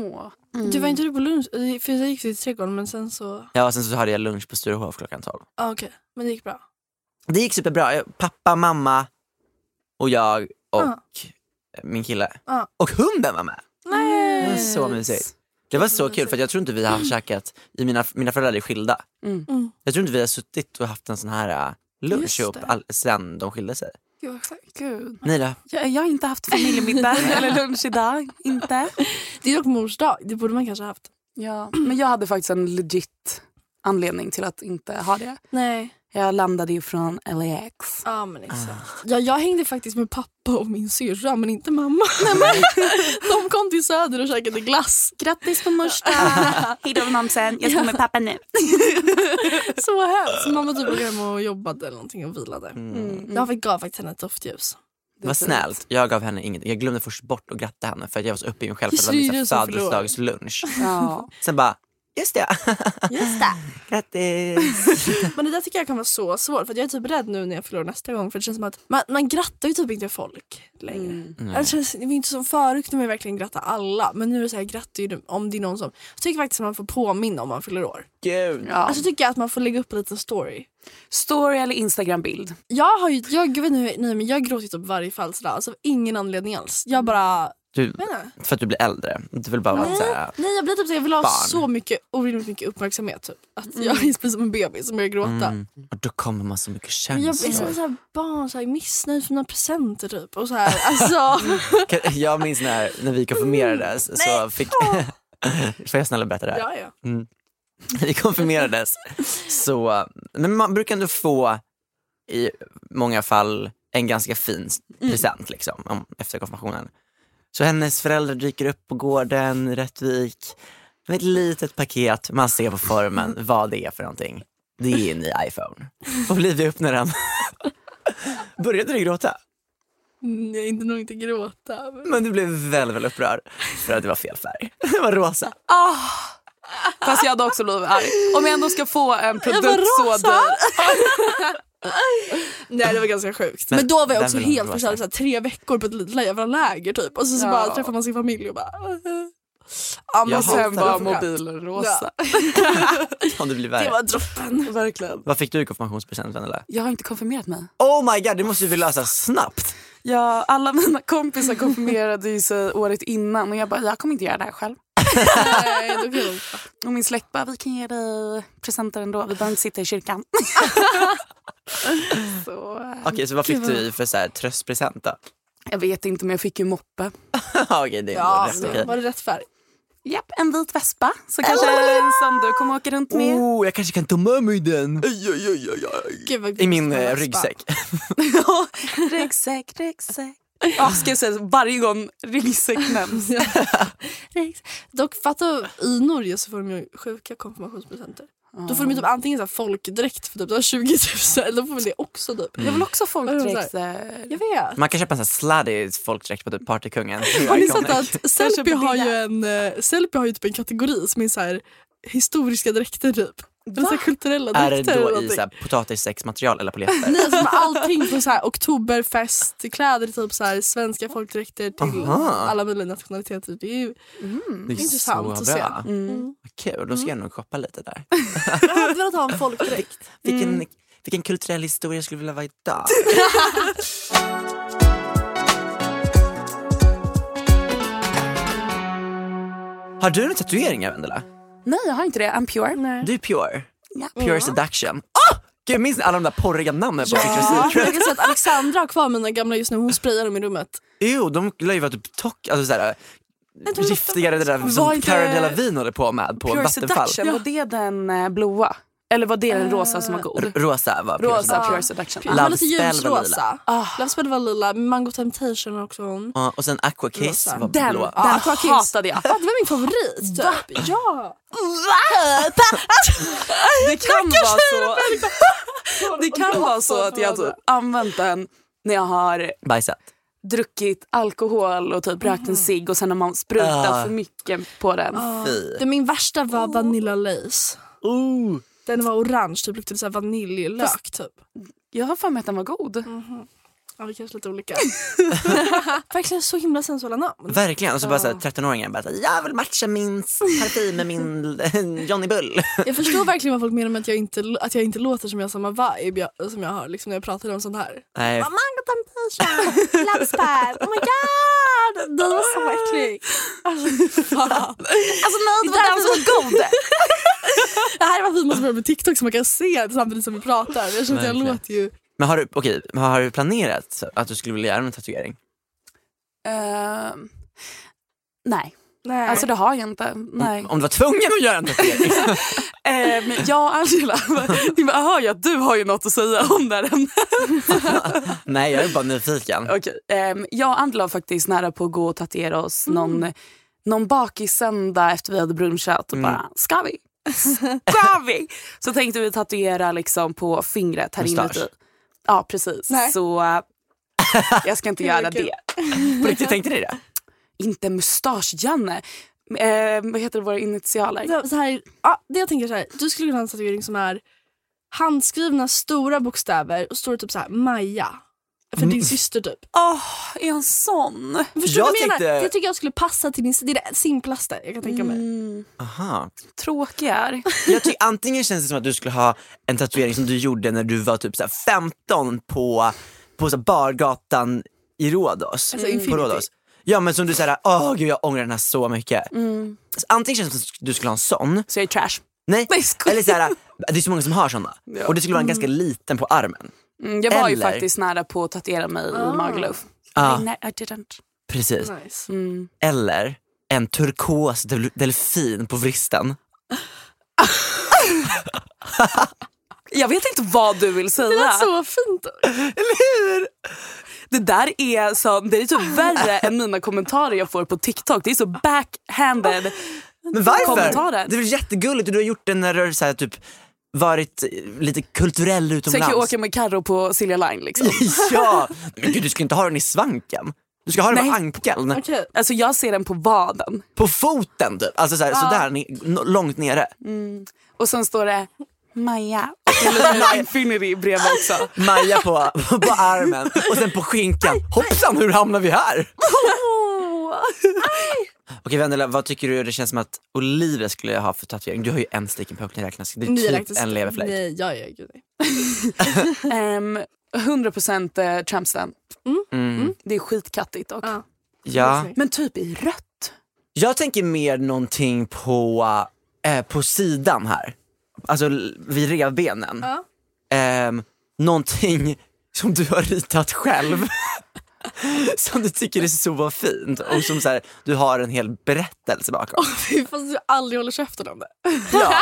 [SPEAKER 3] Du var
[SPEAKER 1] Mm.
[SPEAKER 3] inte du på lunch? Eh, För jag gick till trädgården men sen så...
[SPEAKER 1] Ja, och sen så hade jag lunch på Sturehof klockan 12.
[SPEAKER 3] Ah, Okej, men det gick bra.
[SPEAKER 1] Det gick superbra. Jag- Pappa, mamma och jag och
[SPEAKER 3] Ja.
[SPEAKER 1] min kille.
[SPEAKER 3] Ja.
[SPEAKER 1] Och hunden var med.
[SPEAKER 3] Nej.
[SPEAKER 1] Det var så mysigt. Det var
[SPEAKER 3] Mm,
[SPEAKER 1] så kul för att jag tror inte vi har käkat, i mina, mina föräldrar är skilda.
[SPEAKER 3] Mm.
[SPEAKER 1] Jag tror inte vi har suttit och haft en sån här äh, lunch
[SPEAKER 3] Just
[SPEAKER 1] ihop
[SPEAKER 3] det.
[SPEAKER 1] all, sen de skilde sig.
[SPEAKER 3] Gud, vad skönt.
[SPEAKER 2] Gud.
[SPEAKER 1] Ni då?
[SPEAKER 2] Jag, jag har inte haft familjemiddag eller lunch idag. Inte.
[SPEAKER 3] det är dock mors dag, det borde man kanske ha haft.
[SPEAKER 2] Ja. Men jag hade faktiskt en legit anledning till att inte ha det.
[SPEAKER 3] Nej.
[SPEAKER 2] Jag landade ju från LAX.
[SPEAKER 3] Ja men
[SPEAKER 1] Ah.
[SPEAKER 3] exakt. Ja, jag hängde faktiskt med pappa och min syrra men inte mamma. De kom till Söder och käkade glass.
[SPEAKER 2] Grattis på morsdagen! Hejdå mamsen, jag ska med pappa nu.
[SPEAKER 3] Så hemskt. Mamma typ åkte hem och jobbade eller någonting och vilade. Jag fick- gav faktiskt henne ett doftljus.
[SPEAKER 1] Vad snällt. Jag gav henne inget. Jag glömde först bort att gratta henne för att jag var så uppe i mig själv för att
[SPEAKER 3] Just
[SPEAKER 1] det
[SPEAKER 3] det,
[SPEAKER 1] var min
[SPEAKER 3] du
[SPEAKER 1] så här
[SPEAKER 3] som förlorade.
[SPEAKER 1] födelsedagslunch.
[SPEAKER 2] Ja.
[SPEAKER 1] Sen bara, just det.
[SPEAKER 3] Just det.
[SPEAKER 1] Grattis.
[SPEAKER 3] Men det där tycker jag kan vara så svårt för att jag är typ rädd nu när jag förlorar nästa gång för det känns som att man, man grattar ju typ inte folk längre. Alltså, Det, känns, det var inte som förut när man verkligen grattade alla men nu är det så här, jag grattar ju dem om det är någon som... Jag tycker faktiskt att man får påminna om man fyller år.
[SPEAKER 1] Gud.
[SPEAKER 2] Ja.
[SPEAKER 3] Alltså tycker jag att man får lägga upp en liten story.
[SPEAKER 2] Story eller Instagram-bild?
[SPEAKER 3] Jag har ju, jag, jag vet inte, hur- nej, men jag gråter typ varje födelsedag, alltså av ingen anledning alls. Jag bara,
[SPEAKER 1] Du,
[SPEAKER 3] menar
[SPEAKER 1] för att du blir äldre. Du vill bara vara
[SPEAKER 3] nej,
[SPEAKER 1] så här,
[SPEAKER 3] nej jag blir typ så här, jag vill ha
[SPEAKER 1] Barn. Mm.
[SPEAKER 3] så mycket, orimligt mycket uppmärksamhet typ. Att jag är precis som en bebis som börjar gråta.
[SPEAKER 1] och då kommer man så mycket
[SPEAKER 3] Men
[SPEAKER 1] känslor.
[SPEAKER 3] jag är som ett så här barn, så här, missnöjd för mina presenter typ. Och så här, alltså,
[SPEAKER 1] Kan- Jag minns när, när vi konfirmerades så fick... Får jag snälla berätta det här?
[SPEAKER 3] ja, ja.
[SPEAKER 1] När vi konfirmerades så... Men man brukar ändå få i många fall en ganska fin s- present liksom, om, efter konfirmationen. Så hennes föräldrar dyker upp på gården i Rättvik med ett litet paket. Man ser på formen vad det är för någonting. Det är en ny iPhone. Och Olivia öppnar den. Började du gråta?
[SPEAKER 3] Mm, Jag är inte nog inte gråta. Men...
[SPEAKER 1] Men du blev väldigt, väldigt upprörd för att det var fel färg. Det var rosa.
[SPEAKER 2] Ah! Fast jag hade också blivit arg. Om jag ändå ska få en
[SPEAKER 3] bara,
[SPEAKER 2] produkt så
[SPEAKER 3] "Rosa!"
[SPEAKER 2] dyr.
[SPEAKER 3] Nej det var ganska sjukt.
[SPEAKER 1] Nej,
[SPEAKER 3] Men då var jag
[SPEAKER 1] den
[SPEAKER 3] också
[SPEAKER 1] vill jag
[SPEAKER 3] helt
[SPEAKER 1] inte vara
[SPEAKER 3] förkyld, så här, tre veckor på ett litet jävla läger typ. Och så, så
[SPEAKER 2] Ja.
[SPEAKER 3] bara träffar man sin familj och bara... Ja, men
[SPEAKER 1] Jag
[SPEAKER 2] Och
[SPEAKER 3] så-
[SPEAKER 2] sen
[SPEAKER 1] hatar
[SPEAKER 2] var
[SPEAKER 1] det.
[SPEAKER 2] mobilen rosa.
[SPEAKER 1] Om det blir
[SPEAKER 3] Det
[SPEAKER 1] värre.
[SPEAKER 3] var droppen.
[SPEAKER 2] Verkligen.
[SPEAKER 1] Vad fick du i konfirmationspresent Vendela?
[SPEAKER 2] Jag har inte konfirmerat mig.
[SPEAKER 1] Oh my god, det måste vi lösa snabbt.
[SPEAKER 2] Ja, alla mina kompisar konfirmerade ju sig året innan och jag bara, jag kommer inte göra det här själv.
[SPEAKER 3] Nej, då kan jag inte.
[SPEAKER 2] Och min släkt bara, vi kan ge dig presenter ändå, vi behöver inte sitta i kyrkan. så, eh,
[SPEAKER 1] Okej, så vad fick du i för så här, tröstpresent då?
[SPEAKER 2] jag vet inte men jag fick ju moppe.
[SPEAKER 1] Okej, det är
[SPEAKER 3] Ja, alltså,
[SPEAKER 1] ändå rätt okej.
[SPEAKER 3] var det rätt färg?
[SPEAKER 2] Japp, en vit vespa. Så kanske en sån du kommer åka runt med.
[SPEAKER 1] Oh, jag kanske kan ta med mig den.
[SPEAKER 3] Gud, vad
[SPEAKER 1] I min eh,
[SPEAKER 3] gott.
[SPEAKER 1] ryggsäck.
[SPEAKER 2] Ja, ryggsäck, ryggsäck. Ja, ska jag säga så, varje gång ryggsäck nämns.
[SPEAKER 3] Ryggsäck. Dock fatta, i Norge så får de ju sjuka konfirmationspresenter. Då får de ju typ antingen så här folkdräkt för typ så här 20 000, eller då får man det också typ.
[SPEAKER 2] Jag vill också ha folkdräkt.
[SPEAKER 3] Jag vet.
[SPEAKER 1] Man kan köpa en sån här sladdy folkdräkt på typ Partykungen.
[SPEAKER 3] Har ni sett att
[SPEAKER 2] Kanske
[SPEAKER 3] Sellpy
[SPEAKER 2] på
[SPEAKER 3] har, ju
[SPEAKER 2] Billia.
[SPEAKER 3] en, eh, Sellpy har ju typ en kategori som är så här historiska dräkter typ. Eller så här kulturella
[SPEAKER 1] Är det
[SPEAKER 3] dräkter eller
[SPEAKER 1] då i
[SPEAKER 3] någonting.
[SPEAKER 1] så här, potatissäcksmaterial eller polyetter?
[SPEAKER 3] Nej, alltså med allting från så här oktoberfest till kläder till typ så här svenska folkdräkter till
[SPEAKER 1] Aha.
[SPEAKER 3] alla möjliga nationaliteter. Det är ju
[SPEAKER 1] Det är
[SPEAKER 3] intressant
[SPEAKER 1] så
[SPEAKER 3] att
[SPEAKER 1] bra.
[SPEAKER 3] se. Mm.
[SPEAKER 1] Vad kul, då ska jag nog shoppa lite där.
[SPEAKER 3] Jag hade velat ha en folkdräkt.
[SPEAKER 1] Vilken,
[SPEAKER 3] Mm.
[SPEAKER 1] vilken kulturell historia jag skulle vilja vara idag. Har du några tatueringar Vendela?
[SPEAKER 2] Nej, jag har inte det. I'm pure.
[SPEAKER 1] Du är pure.
[SPEAKER 2] Ja.
[SPEAKER 1] Pure seduction. Oh! Gud, minns ni alla de där porriga namnen på Victoria's
[SPEAKER 3] Ja,
[SPEAKER 1] Secret?
[SPEAKER 3] jag kan säga att Alexandra har kvar mina gamla just nu. Hon sprayar dem i rummet.
[SPEAKER 1] Jo, de lär ju vara typ tock, alltså såhär, giftigare det där
[SPEAKER 2] Var
[SPEAKER 1] som
[SPEAKER 2] inte-
[SPEAKER 1] Cara Delevingne håller på med på
[SPEAKER 2] Pure
[SPEAKER 1] Vattenfall.
[SPEAKER 2] seduction, var det den eh, blåa? Eller var det den rosa som var god?
[SPEAKER 1] R- Rosa var pure
[SPEAKER 2] Rosa,
[SPEAKER 1] seduction.
[SPEAKER 2] Eh, pure Ah, seduction.
[SPEAKER 3] Hon var lite
[SPEAKER 1] Love Spell var
[SPEAKER 3] ljusrosa.
[SPEAKER 1] lila.
[SPEAKER 3] Love Spell var lila. Mango Temptation var också hon.
[SPEAKER 1] Ja, och sen Aqua Kiss
[SPEAKER 3] Rosa.
[SPEAKER 1] var
[SPEAKER 2] Den,
[SPEAKER 1] blå. Ah,
[SPEAKER 2] den hatade jag.
[SPEAKER 3] Ja, Ah, det var min favorit. Typ. Ja.
[SPEAKER 2] Det kan vara så, det kan vara så att jag typ använt den när jag har
[SPEAKER 1] Bajsat.
[SPEAKER 2] druckit alkohol och typ rökt en cigg och sen har man sprutat
[SPEAKER 1] Ah.
[SPEAKER 2] för mycket på den.
[SPEAKER 1] Fy.
[SPEAKER 3] Det, min värsta var Vanilla Lace.
[SPEAKER 1] Ooh.
[SPEAKER 3] Den var orange, typ luktade så här vaniljlök. Typ.
[SPEAKER 2] Jag har för mig att den var god.
[SPEAKER 3] Ja, vi kanske lite olika. Verkligen så himla sensuella namn.
[SPEAKER 1] Verkligen. Och så bara så här, 13-åringen bara så här, jag vill matcha min parfym med min Johnny Bull.
[SPEAKER 3] Jag förstår verkligen vad folk menar med att jag inte, att jag inte låter som jag har samma vibe jag, som jag har liksom, när jag pratar om sånt här.
[SPEAKER 1] Nej,
[SPEAKER 3] Mango temptation, labbspad, oh my god! Du var så äcklig. Alltså, fan.
[SPEAKER 2] Alltså nej, det
[SPEAKER 3] Det där
[SPEAKER 2] var den som var god.
[SPEAKER 3] Det här är varför vi måste börja med TikTok så man kan se samtidigt som vi pratar. Jag känner att jag
[SPEAKER 1] Verkligen.
[SPEAKER 3] låter ju...
[SPEAKER 1] men har du, okej, men har du planerat så att du skulle vilja göra en tatuering?
[SPEAKER 2] Ehm, nej,
[SPEAKER 3] Nej.
[SPEAKER 2] alltså det har jag inte. Nej.
[SPEAKER 1] Om du var tvungen att göra en tatuering?
[SPEAKER 2] Eh, men jag och Angela, jag bara, hör ju att du har ju något att säga om det här ämnet.
[SPEAKER 1] Nej, jag är bara nyfiken.
[SPEAKER 2] Okej. ehm, jag och Angela var faktiskt nära på att gå och tatuera oss
[SPEAKER 3] Mm.
[SPEAKER 2] någon, någon bakis söndag efter vi hade brunchat och bara, ska vi? Ska vi? Så tänkte vi tatuera liksom på fingret här
[SPEAKER 1] Mustasch.
[SPEAKER 2] inuti. Ja, precis.
[SPEAKER 3] Nej.
[SPEAKER 2] Så eh, jag ska inte göra
[SPEAKER 3] vad kul.
[SPEAKER 2] det.
[SPEAKER 1] På riktigt, tänkte ni det?
[SPEAKER 2] Inte mustasch-Janne. Eh, vad heter våra initialer?
[SPEAKER 3] Så- Så här, ja, det jag tänker så här, du skulle kunna ha en tatuering som är handskrivna stora bokstäver och står det typ så här Maja. För din syster typ.
[SPEAKER 2] Åh, är jag en sån?
[SPEAKER 3] Förstår du
[SPEAKER 1] Mm. Jag
[SPEAKER 3] vad jag menar?
[SPEAKER 1] tänkte-
[SPEAKER 3] Det tycker jag skulle passa till din... Det är det simplaste jag kan tänka mig.
[SPEAKER 1] Mm. Aha.
[SPEAKER 2] Tråkig är.
[SPEAKER 1] Jag tycker antingen känns det som att du skulle ha en tatuering som du gjorde när du var typ så här 15 på, på så här bargatan i
[SPEAKER 2] Alltså,
[SPEAKER 1] Rhodos. på
[SPEAKER 3] Infinity.
[SPEAKER 1] Rhodos. Ja men som du säger, åh gud jag ångrar den här så mycket. Så antingen känns det som att du skulle ha en sån,
[SPEAKER 2] Så jag Mm. är trash.
[SPEAKER 1] nej,
[SPEAKER 2] Mm. Nej, skoja.
[SPEAKER 1] eller så här, det är så många som har såna. Och det skulle vara en ganska liten på armen.
[SPEAKER 2] Mm, jag var ju
[SPEAKER 1] Eller?
[SPEAKER 2] faktiskt nära på att tatuera mig i Magaluf.
[SPEAKER 1] Ah.
[SPEAKER 2] Nej, I didn't.
[SPEAKER 1] Precis.
[SPEAKER 3] Nice.
[SPEAKER 1] Eller en turkos del- delfin på vristen.
[SPEAKER 2] Jag vet inte vad du vill säga.
[SPEAKER 3] Det
[SPEAKER 2] Det,
[SPEAKER 3] lät så fint.
[SPEAKER 2] där är, så, det är typ värre än mina kommentarer jag får på TikTok. Det är så backhanded.
[SPEAKER 1] Men varför?
[SPEAKER 2] Kommentarer.
[SPEAKER 1] Det är väl jättegulligt och du har gjort det när du har så här, typ, varit eh, lite kulturell
[SPEAKER 2] Så jag
[SPEAKER 1] utomlands.
[SPEAKER 2] kan åka med Carro på Silja Line. Liksom.
[SPEAKER 1] ja! Men gud, du ska inte ha den i svanken. Du ska ha den på
[SPEAKER 2] Nej.
[SPEAKER 1] ankeln,
[SPEAKER 3] Okej.
[SPEAKER 2] Alltså, jag ser den på vaden.
[SPEAKER 1] på foten typ. Alltså såhär, sådär, ni- n- långt nere.
[SPEAKER 2] Och sen står det Maja och en liten infinity bredvid också.
[SPEAKER 1] Maja på, på armen och sen på skinkan. Hoppsan, hur hamnar vi här? Okej Vendela, vad tycker du det känns som att Olivia skulle ha för tatuering? Du har ju en sticken på öknen räknas. Det är
[SPEAKER 3] Ni
[SPEAKER 1] typ
[SPEAKER 3] räknas-
[SPEAKER 1] en leverfläck.
[SPEAKER 3] Nej, ja, ja, gud, nej.
[SPEAKER 2] Ehm, 100% eh, trampstamp. Det är skitkattigt dock.
[SPEAKER 3] Mm. Ja.
[SPEAKER 1] Ja.
[SPEAKER 2] Men typ i rött.
[SPEAKER 1] Jag tänker mer någonting på, eh, på sidan här. Alltså l- vid revbenen.
[SPEAKER 3] Ja.
[SPEAKER 1] Ehm, någonting som du har ritat själv. som du tycker är så fint och som så här, du har en hel berättelse bakom.
[SPEAKER 3] Fy, Fast du aldrig håller käften om det.
[SPEAKER 1] Ja.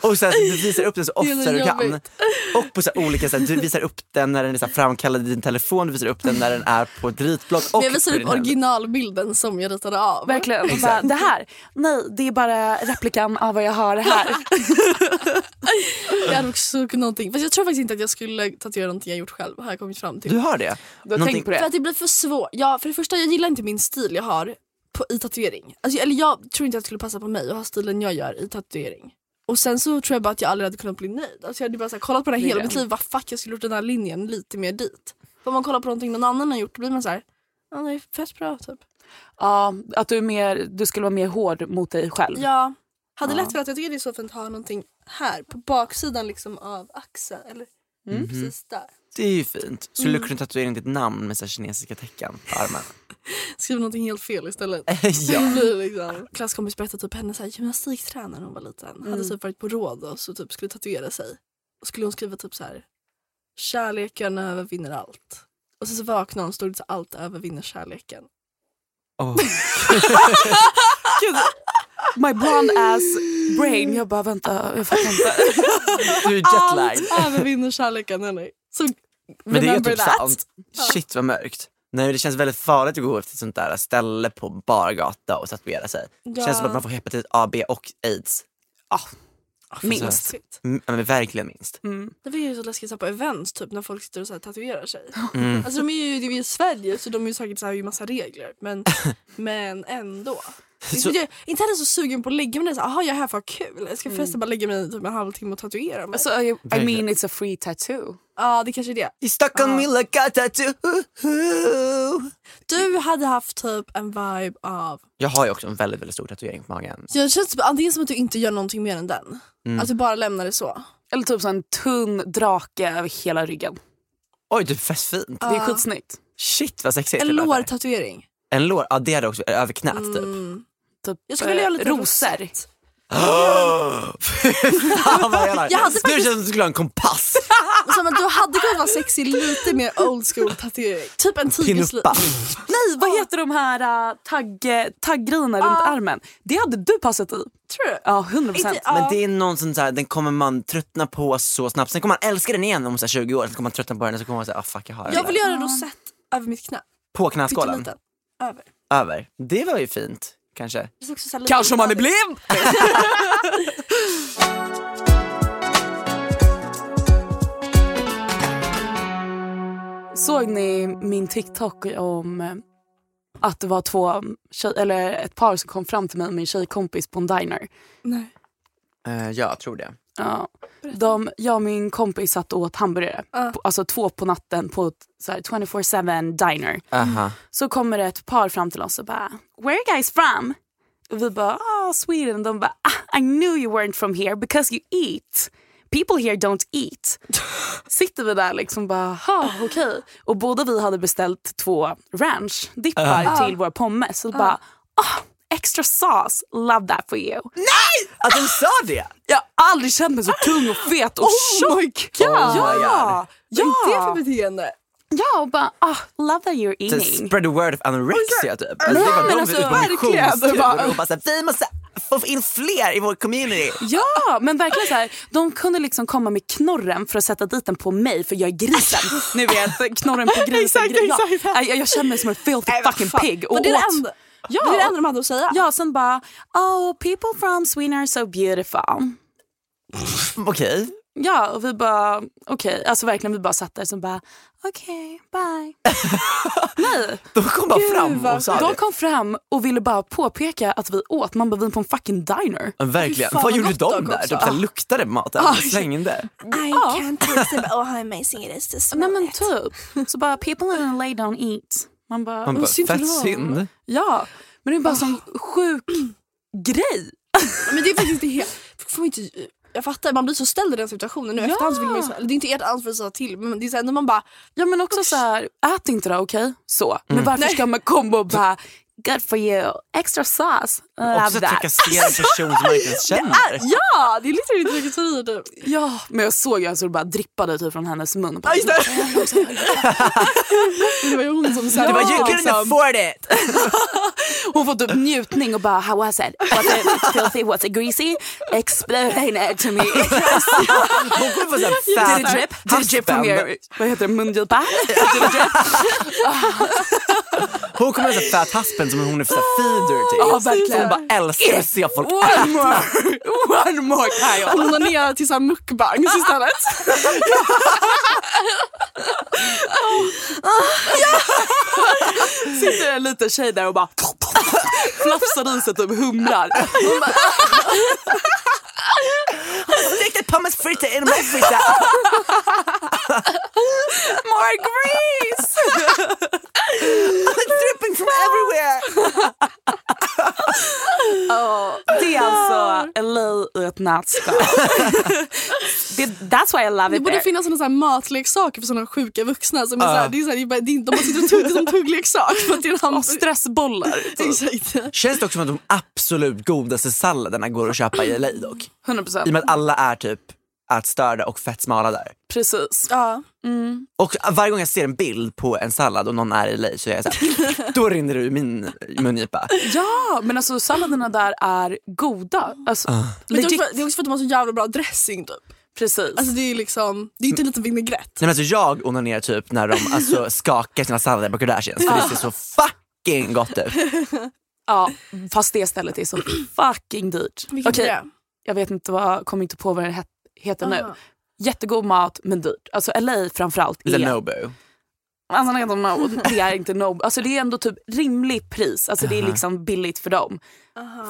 [SPEAKER 1] Och så här, du visar upp den så
[SPEAKER 3] är så
[SPEAKER 1] ofta du kan.
[SPEAKER 3] jobbigt.
[SPEAKER 1] Och på så här, olika sätt. Du visar upp den när den är så här, framkallad i din telefon, du visar upp den när den är på ett ritblock. Och
[SPEAKER 3] Men jag visar
[SPEAKER 1] på
[SPEAKER 3] upp
[SPEAKER 1] din hand.
[SPEAKER 3] originalbilden som jag ritade av.
[SPEAKER 2] Verkligen. Och Bara, det här, nej det är bara replikan av vad jag har här.
[SPEAKER 3] Jag hade också någonting. Fast jag tror faktiskt inte att jag skulle tatuera någonting jag gjort själv. Har jag kommit fram till.
[SPEAKER 1] Du har det?
[SPEAKER 2] Du har tänkt på
[SPEAKER 3] För
[SPEAKER 2] det?
[SPEAKER 3] att det blir för svårt. Ja, för det första, jag gillar inte min stil jag har på, i tatuering. Alltså, eller jag tror inte att det skulle passa på mig att ha stilen jag gör i tatuering. Och sen så tror jag bara att jag aldrig hade kunnat bli nöjd. Alltså, jag hade bara så här, kollat på det här
[SPEAKER 2] Det är
[SPEAKER 3] hela
[SPEAKER 2] det.
[SPEAKER 3] mitt liv. Vad fuck, jag skulle gjort den här linjen lite mer dit. För om man kollar på någonting någon annan har gjort då blir man så här. Ja, det är fett bra typ.
[SPEAKER 2] Ja, att du, är mer, du skulle vara mer hård mot dig själv.
[SPEAKER 3] Ja. Hade lätt för att jag tycker det är så fint att ha någonting här på baksidan liksom av axeln. Eller
[SPEAKER 2] Mm.
[SPEAKER 3] precis där.
[SPEAKER 1] Det är ju fint. Skulle
[SPEAKER 3] Mm.
[SPEAKER 1] du kunna tatuera in ditt namn med så här kinesiska tecken på armen?
[SPEAKER 3] Skriv någonting helt fel istället.
[SPEAKER 1] Eh, ja.
[SPEAKER 3] blir liksom. Klasskompis berättade typ henne så här, gymnastiktränare när hon var liten. Hade typ varit på råd och så typ skulle tatuera sig. Och skulle hon skriva typ så här. Kärleken övervinner allt. Och sen så vaknade hon och stod det så här, allt övervinner kärleken.
[SPEAKER 1] Åh,
[SPEAKER 2] My blonde ass brain. Jag bara vänta, jag fattar inte.
[SPEAKER 1] du är jetlagged.
[SPEAKER 3] Allt övervinner kärleken hörni. Så
[SPEAKER 1] Men det är ju
[SPEAKER 3] remember
[SPEAKER 1] typ
[SPEAKER 3] that.
[SPEAKER 1] sant. Shit vad mörkt. Nej, det känns väldigt farligt att gå efter ett sånt där ställe på bar gata och tatuera sig. Det
[SPEAKER 3] Ja.
[SPEAKER 1] känns som att man får hepatit A, B och aids.
[SPEAKER 2] Minst.
[SPEAKER 3] Shit.
[SPEAKER 1] Mm, ja, men verkligen minst.
[SPEAKER 3] Det var ju så läskigt så här, på events typ när folk sitter och så här, tatuerar sig. Alltså de är ju, det är ju i Sverige så de är ju säkert så här, har ju massa regler men, men ändå.
[SPEAKER 1] Så-
[SPEAKER 3] Jag är inte heller så sugen på att lägga mig ner såhär, jaha jag är här
[SPEAKER 1] Mm. Alltså-
[SPEAKER 3] för att ha kul. Jag ska förresten bara lägga mig i typ en halvtimme och tatuera mig.
[SPEAKER 2] Så, I, I mean
[SPEAKER 1] Verkligen.
[SPEAKER 2] it's a free tattoo.
[SPEAKER 3] Ja, det kanske är det.
[SPEAKER 1] I Stockholm we look at tattoo.
[SPEAKER 3] Du hade haft typ en vibe av...
[SPEAKER 1] Jag har ju också en väldigt, väldigt stor tatuering på magen.
[SPEAKER 3] Jag känns typ antingen som att du inte gör någonting mer än den. Att du bara lämnar det så.
[SPEAKER 2] Eller typ så en tunn drake över hela ryggen.
[SPEAKER 1] Oj, du fett fint.
[SPEAKER 2] Det är skitsnyggt.
[SPEAKER 1] Shit vad sexigt.
[SPEAKER 3] En
[SPEAKER 1] det lät där.
[SPEAKER 3] lårtatuering.
[SPEAKER 1] En lår? Ja, det hade jag också. Över knät typ.
[SPEAKER 2] Typ,
[SPEAKER 3] Jag skulle vilja
[SPEAKER 2] eh,
[SPEAKER 3] göra lite
[SPEAKER 2] rosor.
[SPEAKER 3] rosett.
[SPEAKER 1] Fy fan vad jag
[SPEAKER 3] Jag
[SPEAKER 1] gillar.
[SPEAKER 3] hade
[SPEAKER 1] Nu känns det som att du skulle ha en kompass.
[SPEAKER 3] Som att du hade kunnat vara sexig lite mer old school tatuering. Typ en tigersliv.
[SPEAKER 1] Pinuppa.
[SPEAKER 2] Nej, vad heter de här uh, tagg, taggrejerna runt armen? Det hade du passat i.
[SPEAKER 3] Tror du?
[SPEAKER 2] Ja, 100 procent.
[SPEAKER 3] Inte- ja.
[SPEAKER 1] Men det är någon som så här, den kommer man tröttna på så snabbt. Sen kommer man älska den igen om så här, 20 år. Sen kommer man tröttna på den och så kommer man säga ah fuck jag har den.
[SPEAKER 3] Jag vill göra en rosett över mitt knä.
[SPEAKER 1] På knäskålen?
[SPEAKER 3] Pytteliten. Över.
[SPEAKER 1] Över. Det var ju fint. Kanske.
[SPEAKER 3] Det är också så här lite
[SPEAKER 2] Kanske om man är
[SPEAKER 3] onödigt.
[SPEAKER 2] blind! Såg ni min TikTok om eh, att det var två mm, tjej, eller ett par som kom fram till mig och min tjejkompis på en diner?
[SPEAKER 3] Nej.
[SPEAKER 1] Eh, ja, jag tror det.
[SPEAKER 2] Ja. De, jag och min kompis satt och åt hamburgare,
[SPEAKER 3] Ja.
[SPEAKER 2] på, alltså två på natten på ett så här 24-7 diner.
[SPEAKER 1] Aha.
[SPEAKER 2] Så kommer det ett par fram till oss och bara “Where are you guys from?” Och vi bara “Ah, Sweden”. De bara ah, “I knew you weren't from here because you eat. People here don't eat.” Sitter vi där liksom bara “Ha, okej”. Och båda vi hade beställt två ranchdippar till våra pommes. Så bara “Ah, extra sauce. Love that for you.”
[SPEAKER 1] Att de sa det?
[SPEAKER 2] Jag har aldrig känt mig så tung och fet och tjock. Ah.
[SPEAKER 1] Oh my
[SPEAKER 2] ja,
[SPEAKER 3] Vad är det för
[SPEAKER 2] ja,
[SPEAKER 3] beteende?
[SPEAKER 2] ja, och bara ah, “Love that you're
[SPEAKER 1] Så
[SPEAKER 2] eating”.
[SPEAKER 1] Spread the word of anorexia typ. Alltså, det var
[SPEAKER 2] men
[SPEAKER 1] de
[SPEAKER 2] alltså,
[SPEAKER 1] som var ute på
[SPEAKER 2] verkligen.
[SPEAKER 1] missionstur
[SPEAKER 2] Det var-
[SPEAKER 1] och bara så här, vi måste få in fler i vår community.
[SPEAKER 2] Ja, men verkligen så här, de kunde liksom komma med knorren för att sätta dit den på mig för jag är grisen. Ni vet, knorren på grisen.
[SPEAKER 3] Exakt,
[SPEAKER 2] Ja,
[SPEAKER 3] exakt.
[SPEAKER 2] nej, Jag, jag känner mig som en filthy fucking pig. Och
[SPEAKER 3] Var det det
[SPEAKER 2] åt-
[SPEAKER 3] enda?
[SPEAKER 2] Ja.
[SPEAKER 3] Var det det enda de hade att säga?
[SPEAKER 2] Ja, sen bara, oh people from Sweden are so
[SPEAKER 3] Mm.
[SPEAKER 2] beautiful.
[SPEAKER 1] Okej.
[SPEAKER 2] Ja, och vi bara, okej, alltså verkligen vi bara satt där och bara, okej, bye.
[SPEAKER 1] De kom bara fram
[SPEAKER 3] vad-
[SPEAKER 1] och sa
[SPEAKER 2] De
[SPEAKER 1] det.
[SPEAKER 2] kom fram och ville bara påpeka att vi åt, man bara vi är på en fucking diner.
[SPEAKER 1] Ja, Verkligen.
[SPEAKER 3] Fy fan,
[SPEAKER 1] Vad gjorde
[SPEAKER 3] vad gott
[SPEAKER 1] de
[SPEAKER 3] de
[SPEAKER 1] där?
[SPEAKER 3] också.
[SPEAKER 1] Typ så här, luktade på maten?
[SPEAKER 2] Ah.
[SPEAKER 1] Slängde?
[SPEAKER 6] I can't taste it, but oh, how amazing it is to smell
[SPEAKER 2] Nej men
[SPEAKER 6] it.
[SPEAKER 2] typ, så bara people in LA don't eat. Man bara,
[SPEAKER 1] Man bara,
[SPEAKER 2] synd för
[SPEAKER 1] fett
[SPEAKER 2] dem.
[SPEAKER 1] synd.
[SPEAKER 2] Ja, Ah. men det är bara en sån sjuk grej.
[SPEAKER 3] Men det är faktiskt inte helt... Får inte, jag fattar, man blir så ställd i den situationen nu. Efterhand så vill man ju, så- eller det är inte ert ansvar att säga till men det är så här, när man bara...
[SPEAKER 2] Ja men också så här, ät inte då okej? Så. Men varför ska man komma och bara good for you, extra sauce,
[SPEAKER 1] Också
[SPEAKER 2] love that.
[SPEAKER 1] trakassera en person som man inte ens känner.
[SPEAKER 3] Ja, det är lite lite trakasserier typ.
[SPEAKER 2] Ja, men jag såg ju alltså det bara drippade typ från hennes mun. Bara,
[SPEAKER 3] Det var ju hon som sa
[SPEAKER 1] Det var you couldn't
[SPEAKER 2] liksom.
[SPEAKER 1] afford it!
[SPEAKER 2] Hon får typ njutning och bara how was it? Was it filthy? Was it greasy? Explain it to me.
[SPEAKER 1] Hon kommer få sån
[SPEAKER 2] Did
[SPEAKER 1] här
[SPEAKER 2] it drip?
[SPEAKER 1] fat
[SPEAKER 2] Did it drip from
[SPEAKER 1] husband.
[SPEAKER 2] your, vad heter det, mungipa? Did it drip?
[SPEAKER 1] Hon kommer att fat husband som hon är så här
[SPEAKER 2] Ah.
[SPEAKER 1] feeder till.
[SPEAKER 2] Ja, verkligen.
[SPEAKER 1] Hon bara typ. älskar att se folk
[SPEAKER 2] One more, one more Kyle.
[SPEAKER 3] onanera till såhär mukbangs istället.
[SPEAKER 2] sitter en liten tjej där och bara flafsar i sig typ humlar.
[SPEAKER 1] Riktigt pommes frites in my frites.
[SPEAKER 2] More grease!
[SPEAKER 1] It's dripping from everywhere.
[SPEAKER 2] Det är alltså LA i ett nötskal. Det- That's why I love
[SPEAKER 3] Det
[SPEAKER 2] it
[SPEAKER 3] borde
[SPEAKER 2] there.
[SPEAKER 3] finnas såna så här matleksaker för såna sjuka vuxna. Som är så här, det är så här, det är bara, det är, de bara sitter och tuggar som tuggleksak. För att det är en hamburgare.
[SPEAKER 2] Stressbollar. typ.
[SPEAKER 3] Exakt.
[SPEAKER 1] Känns det också som att de absolut godaste salladerna går att köpa i LA dock? I
[SPEAKER 2] 100 procent.
[SPEAKER 1] och med att alla är typ ätstörda och fett smala där.
[SPEAKER 2] Precis.
[SPEAKER 3] Ja.
[SPEAKER 1] Och varje gång jag ser en bild på en sallad och någon är i LA så är jag såhär, då rinner det ur min mungipa.
[SPEAKER 2] Ja, men alltså salladerna där är goda. Alltså,
[SPEAKER 3] Men det, är
[SPEAKER 2] legit.
[SPEAKER 3] också för, det är också för att de har så jävla bra dressing typ.
[SPEAKER 2] Precis.
[SPEAKER 3] Alltså det är ju liksom, det är inte en liten vinägrett.
[SPEAKER 1] Nej, men alltså jag onanerar typ när de alltså, skakar sina sallader på Kardashians för det ser så fucking gott ut.
[SPEAKER 2] ja, fast det stället är så fucking dyrt.
[SPEAKER 3] Vilket
[SPEAKER 2] Okej,
[SPEAKER 3] är det?
[SPEAKER 2] Jag vet inte vad, kommer inte på vad det het- heter nu.
[SPEAKER 3] Aha.
[SPEAKER 2] Jättegod mat men dyrt. Alltså LA framförallt
[SPEAKER 1] The
[SPEAKER 2] är
[SPEAKER 1] Nobu.
[SPEAKER 2] Alltså, nej, de, no, det är inte no, alltså det är ändå typ rimligt pris. Alltså det är liksom billigt för dem.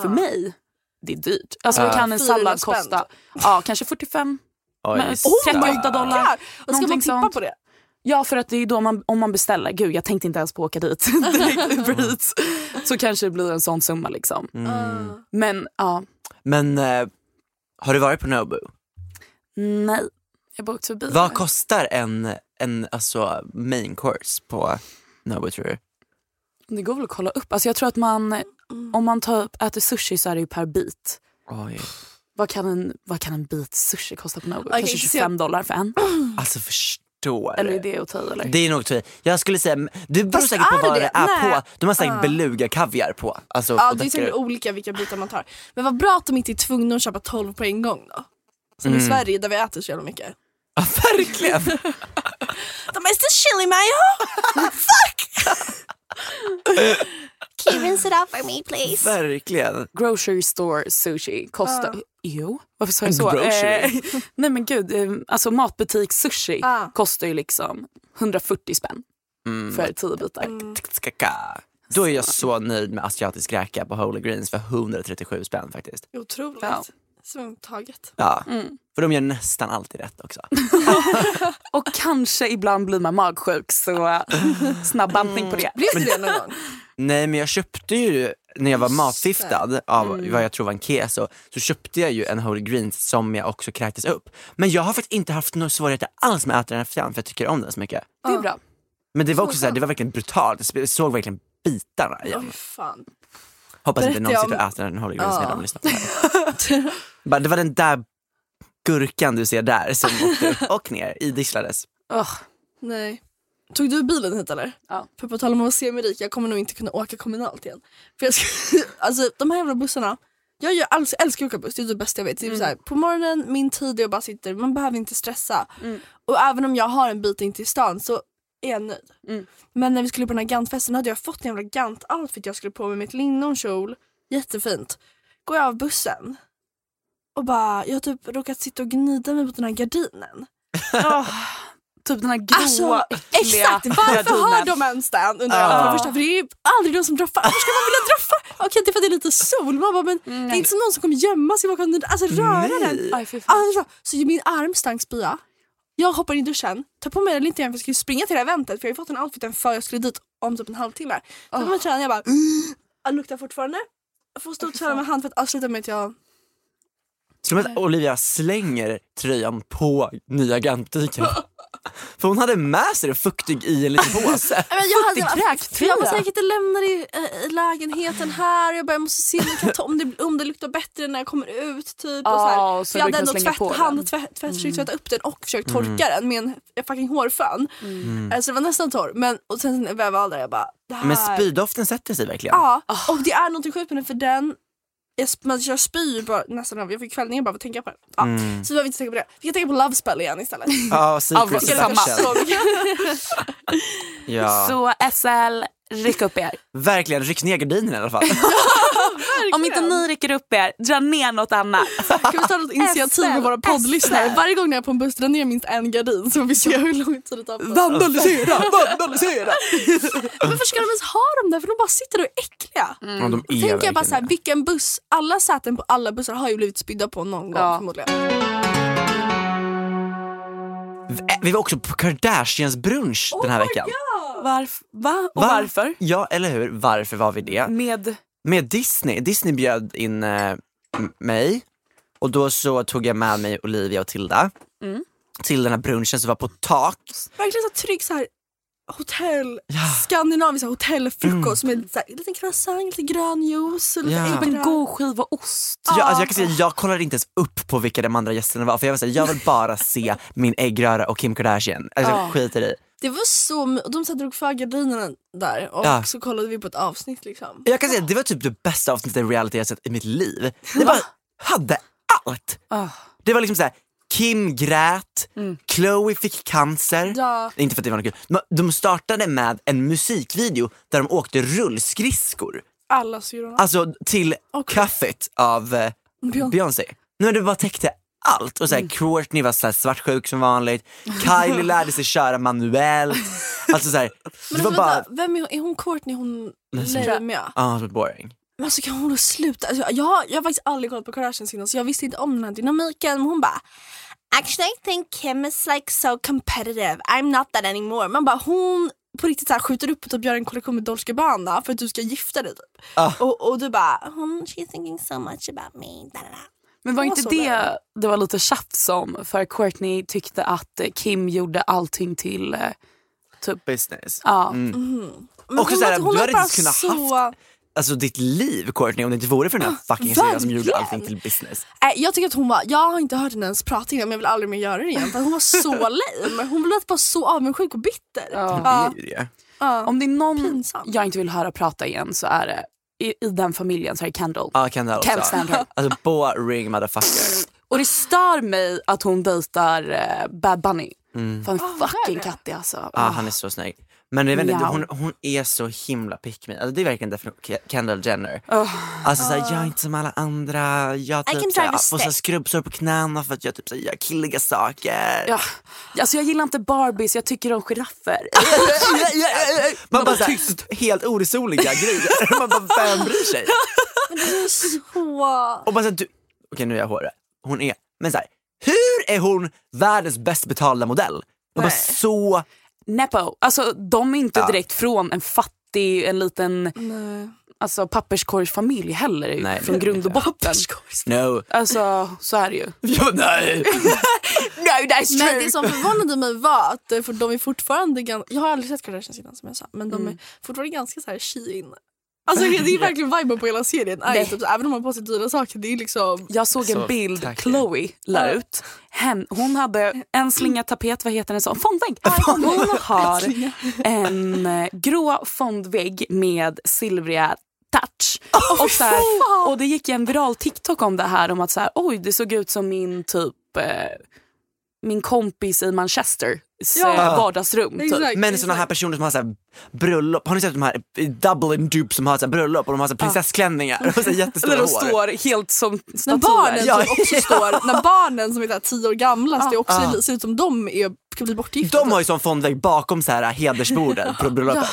[SPEAKER 2] För mig, det är dyrt. Alltså vad kan en
[SPEAKER 3] 400
[SPEAKER 2] sallad
[SPEAKER 3] spänn.
[SPEAKER 2] kosta? Ja, kanske 45
[SPEAKER 1] Oj,
[SPEAKER 2] Men-
[SPEAKER 3] Oh my
[SPEAKER 2] 38 dollar.
[SPEAKER 3] God. Och ska man
[SPEAKER 2] Någonting
[SPEAKER 3] tippa
[SPEAKER 2] sånt.
[SPEAKER 3] på det?
[SPEAKER 2] Ja, för att det är då man, om man beställer. Gud, jag tänkte inte ens på att åka dit. Direkt Uber
[SPEAKER 1] Mm.
[SPEAKER 2] Eats. Så kanske det blir en sån summa liksom. Men ja,
[SPEAKER 1] Men eh, har du varit på Nobu?
[SPEAKER 2] nej. Jag bara åkte förbi.
[SPEAKER 1] Vad kostar en, en alltså, main course på Nobu tror du?
[SPEAKER 2] det går väl att kolla upp. Alltså, jag tror att man,
[SPEAKER 3] Mm.
[SPEAKER 2] om man tar, äter sushi så är det ju per bit.
[SPEAKER 1] Oj.
[SPEAKER 2] Vad kan en, vad kan en bit sushi kosta på något?
[SPEAKER 3] Okej,
[SPEAKER 2] Kanske
[SPEAKER 3] så-
[SPEAKER 2] 25 dollar för en?
[SPEAKER 1] Alltså förstår
[SPEAKER 2] Eller är det att ta i, eller?
[SPEAKER 1] Det är nog tur. Jag skulle säga, det beror
[SPEAKER 3] Fast
[SPEAKER 1] säkert på
[SPEAKER 3] är
[SPEAKER 1] vad
[SPEAKER 3] det?
[SPEAKER 1] det, är
[SPEAKER 3] Nej. Ah.
[SPEAKER 1] på. De har säkert beluga kaviar på. Alltså,
[SPEAKER 3] Ja,
[SPEAKER 1] och
[SPEAKER 3] det är
[SPEAKER 1] deckare.
[SPEAKER 3] säkert olika vilka bitar man tar. Men vad bra att de inte är tvungna att köpa 12 på en gång då. Som i Sverige där vi äter så jävla mycket.
[SPEAKER 1] Ja, verkligen.
[SPEAKER 3] De är så chili mayo!
[SPEAKER 6] Can you rinse it out for me please?
[SPEAKER 1] verkligen.
[SPEAKER 2] Grocery store sushi kostar... Jo, varför sa jag så?
[SPEAKER 1] Grocery.
[SPEAKER 2] Eh, nej men gud, eh, alltså matbutik sushi
[SPEAKER 3] Ah.
[SPEAKER 2] kostar ju liksom 140 spänn
[SPEAKER 1] Mm.
[SPEAKER 2] för 10 bitar.
[SPEAKER 3] Mm.
[SPEAKER 1] Tsk-tsk-tsk-ka. Då är jag så nöjd med asiatisk räka på Holy Greens för 137 spänn faktiskt.
[SPEAKER 3] Otroligt.
[SPEAKER 2] Ja.
[SPEAKER 3] Som taget.
[SPEAKER 1] Ja. För de gör nästan alltid rätt också.
[SPEAKER 2] Och kanske ibland blir man magsjuk så eh, snabb bantning på det.
[SPEAKER 3] Blev det det någon gång?
[SPEAKER 1] Nej men jag köpte ju, när jag var matfiftad av vad jag tror var en keso, så köpte jag ju en Holy Greens som jag också kräktes upp. Men jag har faktiskt inte haft några svårigheter alls med att äta den här efterhand för jag tycker om den så mycket.
[SPEAKER 2] Det är bra.
[SPEAKER 1] Men det var också så här, det var verkligen brutalt, jag såg verkligen bitarna igen.
[SPEAKER 3] Åh, fan.
[SPEAKER 1] Hoppas inte
[SPEAKER 3] Berättar
[SPEAKER 1] någon
[SPEAKER 3] jag
[SPEAKER 1] sitter och
[SPEAKER 3] om-
[SPEAKER 1] äter en Holy Grail när de lyssnar på det här. Bara, Det var den där gurkan du ser där som åkte upp och ner, idisslades.
[SPEAKER 2] Ugh.
[SPEAKER 3] Nej. Tog du bilen hit eller?
[SPEAKER 2] Ja.
[SPEAKER 3] För på tal om att se mig rik, jag kommer nog inte kunna åka kommunalt igen. För jag ska, alltså de här jävla bussarna. Jag gör, alltså, älskar att åka buss, det är det bästa jag vet. Det är så här, på morgonen, min tid, jag bara sitter, man behöver inte stressa. Och även om jag har en bit in till stan så är jag nöjd. Men när vi skulle på den här Gantfesten hade jag fått en jävla Gant-outfit jag skulle på mig med ett linnonkjol. Jättefint. Går jag av bussen och bara, jag har typ råkat sitta och gnida mig mot den här gardinen.
[SPEAKER 2] Ah. Typ den här grå,
[SPEAKER 3] Alltså,
[SPEAKER 2] äckliga
[SPEAKER 3] Exakt, varför
[SPEAKER 2] gardinen.
[SPEAKER 3] har de ens den? Undrar jag. För, det första, för det är ju aldrig de som drar fram. Varför ska man vilja dra fram? Okej, det är för att det är lite sol. Man bara, men det är inte som någon som kommer gömma sig bakom den. Alltså röra den.
[SPEAKER 2] Mm. Aj, fy fan.
[SPEAKER 3] Alltså, så min arm stank spya. Jag hoppar in i duschen, tar på mig den lite igen för jag skulle springa till det här eventet för jag har ju fått en outfiten för jag skulle dit om typ en halvtimme. Tar på mig tröjan, jag bara jag luktar fortfarande. Jag får stå och tvätta med hand för att avsluta med att jag...
[SPEAKER 1] Till och med att Olivia slänger tröjan på nya Gantdyken. För hon hade med sig det fuktig i en liten påse.
[SPEAKER 3] Men jag hade
[SPEAKER 1] Fuktig
[SPEAKER 3] för jag var
[SPEAKER 1] kräktröja.
[SPEAKER 3] säkert inte lämna det i, eh, i lägenheten här. Jag bara, jag måste se om, jag kan ta, om, det, om det luktar bättre när jag kommer ut. Typ, och så här.
[SPEAKER 2] Ja, och Ah, så
[SPEAKER 3] för jag
[SPEAKER 2] du
[SPEAKER 3] hade
[SPEAKER 2] kan
[SPEAKER 3] ändå
[SPEAKER 2] slänga
[SPEAKER 3] tvätt,
[SPEAKER 2] på den. Mm.
[SPEAKER 3] hand, tvätt, tvätt, försökt tvätta upp den och försökt torka den med en en fucking hårfön.
[SPEAKER 2] Mm.
[SPEAKER 3] Eh, Så det var nästan torr. Men och sen när jag var där, jag bara, det här...
[SPEAKER 1] Men spydoften sätter sig verkligen.
[SPEAKER 3] Ja,
[SPEAKER 2] Ah.
[SPEAKER 3] och det är någonting sjukt med den för den jag, sp- man- jag spyr bara, nästan av, jag fick kvällningar bara av att tänka på den. Ja.
[SPEAKER 2] Mm.
[SPEAKER 3] Så vi behöver inte tänka på det. Vi kan tänka på Love Spell igen istället.
[SPEAKER 1] Ja, secret
[SPEAKER 2] vad- samma.
[SPEAKER 1] seduction. Ja.
[SPEAKER 2] Så SL, ryck upp er.
[SPEAKER 1] Verkligen, ryck ner gardinen i alla fall.
[SPEAKER 2] Om inte ni rycker upp er, dra ner något annat.
[SPEAKER 3] Kan vi ta något initiativ med våra poddlyssnare? Varje gång när jag är på en buss drar ner minst en gardin så får vi se hur lång tid det tar. för oss.
[SPEAKER 1] Vandalisera, vandalisera.
[SPEAKER 3] Varför ska de ens ha dem där? För de bara sitter och är äckliga.
[SPEAKER 1] Mm. Ja, de är
[SPEAKER 3] Då tänker jag bara
[SPEAKER 1] verkligen
[SPEAKER 3] så här,
[SPEAKER 1] det.
[SPEAKER 3] vilken buss? Alla säten på alla bussar har ju blivit spydda på någon gång
[SPEAKER 2] Ja.
[SPEAKER 3] förmodligen.
[SPEAKER 1] Vi var också på Kardashians brunch den här
[SPEAKER 3] Oh
[SPEAKER 1] veckan.
[SPEAKER 2] Varf, va? Och
[SPEAKER 1] Va?
[SPEAKER 2] varför?
[SPEAKER 1] Ja, eller hur? Varför var vi det?
[SPEAKER 2] Med...
[SPEAKER 1] Med Disney. Disney bjöd in eh, m- mig och då så tog jag med mig Olivia och Tilda till den här brunchen som var på tak.
[SPEAKER 3] Verkligen så här trygg så här hotell, skandinavisk så här hotellfrukost med så här, en liten croissant, lite grön juice och lite
[SPEAKER 1] Mm. Ja.
[SPEAKER 3] ägg.
[SPEAKER 2] En god skiva ost.
[SPEAKER 1] Jag, alltså jag, kan säga, jag kollade inte ens upp på vilka de andra gästerna var för jag var såhär, jag vill bara se min äggröra och Kim Kardashian. Alltså jag skiter i.
[SPEAKER 3] Det var så my- de så här drog för gardinerna där och
[SPEAKER 1] Ja.
[SPEAKER 3] så kollade vi på ett avsnitt liksom.
[SPEAKER 1] Jag kan säga det var typ det bästa avsnittet i reality jag sett i mitt liv. Det bara hade allt.
[SPEAKER 3] Ah.
[SPEAKER 1] Det var liksom så här. Kim grät, Chloe fick cancer.
[SPEAKER 3] Mm. Ja.
[SPEAKER 1] Inte för att det var något kul. De- De startade med en musikvideo där de åkte rullskridskor.
[SPEAKER 3] Alla syrrorna.
[SPEAKER 1] Alltså till
[SPEAKER 3] Och-
[SPEAKER 1] Cuffit av eh,
[SPEAKER 3] Beyon-
[SPEAKER 1] Beyoncé. Nej, det bara täckte allt. Och så här,
[SPEAKER 3] Mm.
[SPEAKER 1] Courtney var så här svartsjuk som vanligt. Kylie lärde sig köra manuellt. Alltså så här, det
[SPEAKER 3] Men
[SPEAKER 1] var
[SPEAKER 3] alltså,
[SPEAKER 1] bara...
[SPEAKER 3] vänta, vem är, är hon Courtney? Hon
[SPEAKER 1] som-
[SPEAKER 3] Leimia?
[SPEAKER 1] Ja, ah, det var boring.
[SPEAKER 3] Men alltså kan hon då sluta? Alltså, jag, har- jag har faktiskt aldrig kollat på Kardashians innan så jag visste inte om den här dynamiken. Men hon bara
[SPEAKER 6] Actually, I think Kim is like so competitive. I'm not that anymore.
[SPEAKER 3] Man bara hon på riktigt så här skjuter upp och typ gör en kollektion med Dolce Gabbana för att du ska gifta dig typ.
[SPEAKER 1] Ah.
[SPEAKER 3] Och, och du bara
[SPEAKER 6] Hon, she's thinking so much about me. Da, da, da.
[SPEAKER 2] Men var
[SPEAKER 3] Det var
[SPEAKER 2] inte
[SPEAKER 3] så
[SPEAKER 2] det
[SPEAKER 3] där.
[SPEAKER 2] det var lite tjafs om? För Courtney tyckte att eh, Kim gjorde allting till... eh,
[SPEAKER 1] Business.
[SPEAKER 2] Ja.
[SPEAKER 3] men
[SPEAKER 1] Också så här,
[SPEAKER 3] låter-
[SPEAKER 1] du hade
[SPEAKER 3] låter
[SPEAKER 1] inte kunnat
[SPEAKER 3] så-
[SPEAKER 1] haft- Alltså ditt liv Courtney om det inte vore för den här
[SPEAKER 6] Ah,
[SPEAKER 1] fucking serien som gjorde
[SPEAKER 3] verkligen.
[SPEAKER 1] allting till business.
[SPEAKER 3] Nej, jag tycker att hon var, jag har inte hört henne ens prata innan men jag vill aldrig mer göra det igen för hon var så lame. Hon lät bara så avundsjuk och bitter. Ja.
[SPEAKER 1] Det är ju det.
[SPEAKER 2] Om det är någon
[SPEAKER 3] Pinsamt.
[SPEAKER 2] jag inte vill höra prata igen så är det i, i den familjen så är det Kendall.
[SPEAKER 1] Ja, Kendall
[SPEAKER 2] Can't
[SPEAKER 1] också.
[SPEAKER 2] stand her.
[SPEAKER 1] Alltså boring motherfucker.
[SPEAKER 2] Och det stör mig att hon dejtar eh, Bad Bunny.
[SPEAKER 1] Mm.
[SPEAKER 2] Fan fucking kattig alltså.
[SPEAKER 6] Ah.
[SPEAKER 1] Ja, Ah, han är så snygg. Men jag vet inte,
[SPEAKER 2] Miau.
[SPEAKER 1] hon, hon är så himla pick me. Alltså, det är verkligen definitivt Kendall Jenner. Alltså såhär, jag är inte som alla andra. Jag
[SPEAKER 6] Oh. Ah. I can
[SPEAKER 1] typ,
[SPEAKER 6] drive
[SPEAKER 1] såhär,
[SPEAKER 6] a
[SPEAKER 1] får såhär,
[SPEAKER 6] stick.
[SPEAKER 1] skrubbsår på knäna för att jag typ, såhär, gör killiga saker.
[SPEAKER 2] Ja. Alltså jag gillar inte Barbies, jag tycker om giraffer.
[SPEAKER 1] Man bara tycks helt oresoliga grejer. Man bara, vem bryr sig?
[SPEAKER 3] Så...
[SPEAKER 1] Och bara, såhär, du... Okej nu är jag hårig. Hon är, men såhär, hur är hon världens bäst betalda modell? Man bara, så
[SPEAKER 2] Nepo. Alltså de är
[SPEAKER 1] Ah.
[SPEAKER 2] inte direkt från en fattig, en liten alltså, papperskorgsfamilj heller
[SPEAKER 1] Nej, det är
[SPEAKER 2] från
[SPEAKER 1] det
[SPEAKER 2] grund och
[SPEAKER 1] inte.
[SPEAKER 2] botten.
[SPEAKER 1] no.
[SPEAKER 2] Alltså så är det ju.
[SPEAKER 1] Ja, nej.
[SPEAKER 2] No, that's
[SPEAKER 3] Men det som förvånade mig var att eh, för de är fortfarande ganska, jag har aldrig sett Kardashians innan som jag sa, men
[SPEAKER 1] Mm.
[SPEAKER 3] de är fortfarande ganska så här she-in. Alltså det är verkligen viben på hela serien. Är ju typ, så- även om man har på sig dyra saker, det är liksom...
[SPEAKER 2] Jag såg en
[SPEAKER 1] Så
[SPEAKER 2] bild
[SPEAKER 1] tack.
[SPEAKER 2] Chloe la
[SPEAKER 3] Ja.
[SPEAKER 2] ut. Hen, hon hade en slinga tapet, vad heter den så? Fondvägg. Hon har en eh, grå fondvägg med silvriga touch. och, så här, och det gick en viral TikTok om det här om att så här, oj det såg ut som min typ eh, min kompis i Manchester
[SPEAKER 3] Ja.
[SPEAKER 2] vardagsrum. Typ.
[SPEAKER 3] Exakt,
[SPEAKER 1] Men såna här
[SPEAKER 3] exakt.
[SPEAKER 1] personer som har så här bröllop, har ni sett de här i Dublin Dupe som har så här bröllop och de har så här prinsessklänningar och så här jättestora
[SPEAKER 2] Där de
[SPEAKER 1] hår?
[SPEAKER 2] står helt som
[SPEAKER 3] När
[SPEAKER 2] statyer.
[SPEAKER 3] barnen,
[SPEAKER 1] Ja,
[SPEAKER 3] som också står, när barnen som är så här tio år gamla så det också ser ut som de är, ska bli bortgifta.
[SPEAKER 1] De har ju sån fondvägg bakom så här hedersborden på bröllopet.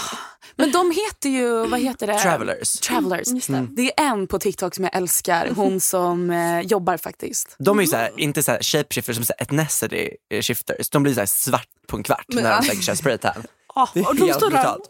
[SPEAKER 2] Men de heter ju, vad heter det?
[SPEAKER 1] Travelers.
[SPEAKER 2] Travelers. Mm. det. är en på TikTok som jag älskar, hon som eh, jobbar faktiskt.
[SPEAKER 1] De är ju så här, inte så här shapeshifters som så här ethnicity eh, shifters. De blir så här svart på en kvart när de säkert kör spraytan. Det är
[SPEAKER 3] och de
[SPEAKER 1] helt
[SPEAKER 3] står där.
[SPEAKER 1] brutalt.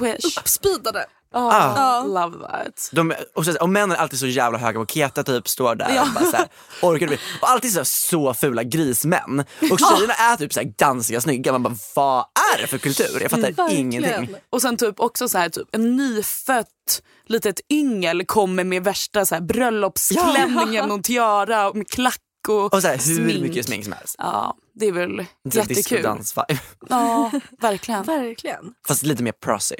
[SPEAKER 2] I wish.
[SPEAKER 3] Speedade.
[SPEAKER 2] Oh,
[SPEAKER 1] Ah.
[SPEAKER 2] Love that.
[SPEAKER 1] De, och, så, och männen är alltid så jävla höga på keta typ, står där och bara så här, orkar du bli? Och alltid så, så fula grismän. Och tjejerna är typ så här ganska snygga. Man bara, vad är det för kultur? Jag fattar ingenting.
[SPEAKER 2] Och sen typ också så här, typ, en nyfött litet yngel kommer med värsta så här, bröllopsklänningen och tiara med klack och,
[SPEAKER 1] Och så här, hur
[SPEAKER 2] smink.
[SPEAKER 1] mycket smink som helst. Typ
[SPEAKER 2] Ja, det är väl
[SPEAKER 1] Så här
[SPEAKER 2] jättekul.
[SPEAKER 1] discodansvibe.
[SPEAKER 2] Ja, verkligen.
[SPEAKER 3] Verkligen.
[SPEAKER 1] Fast lite mer prosy.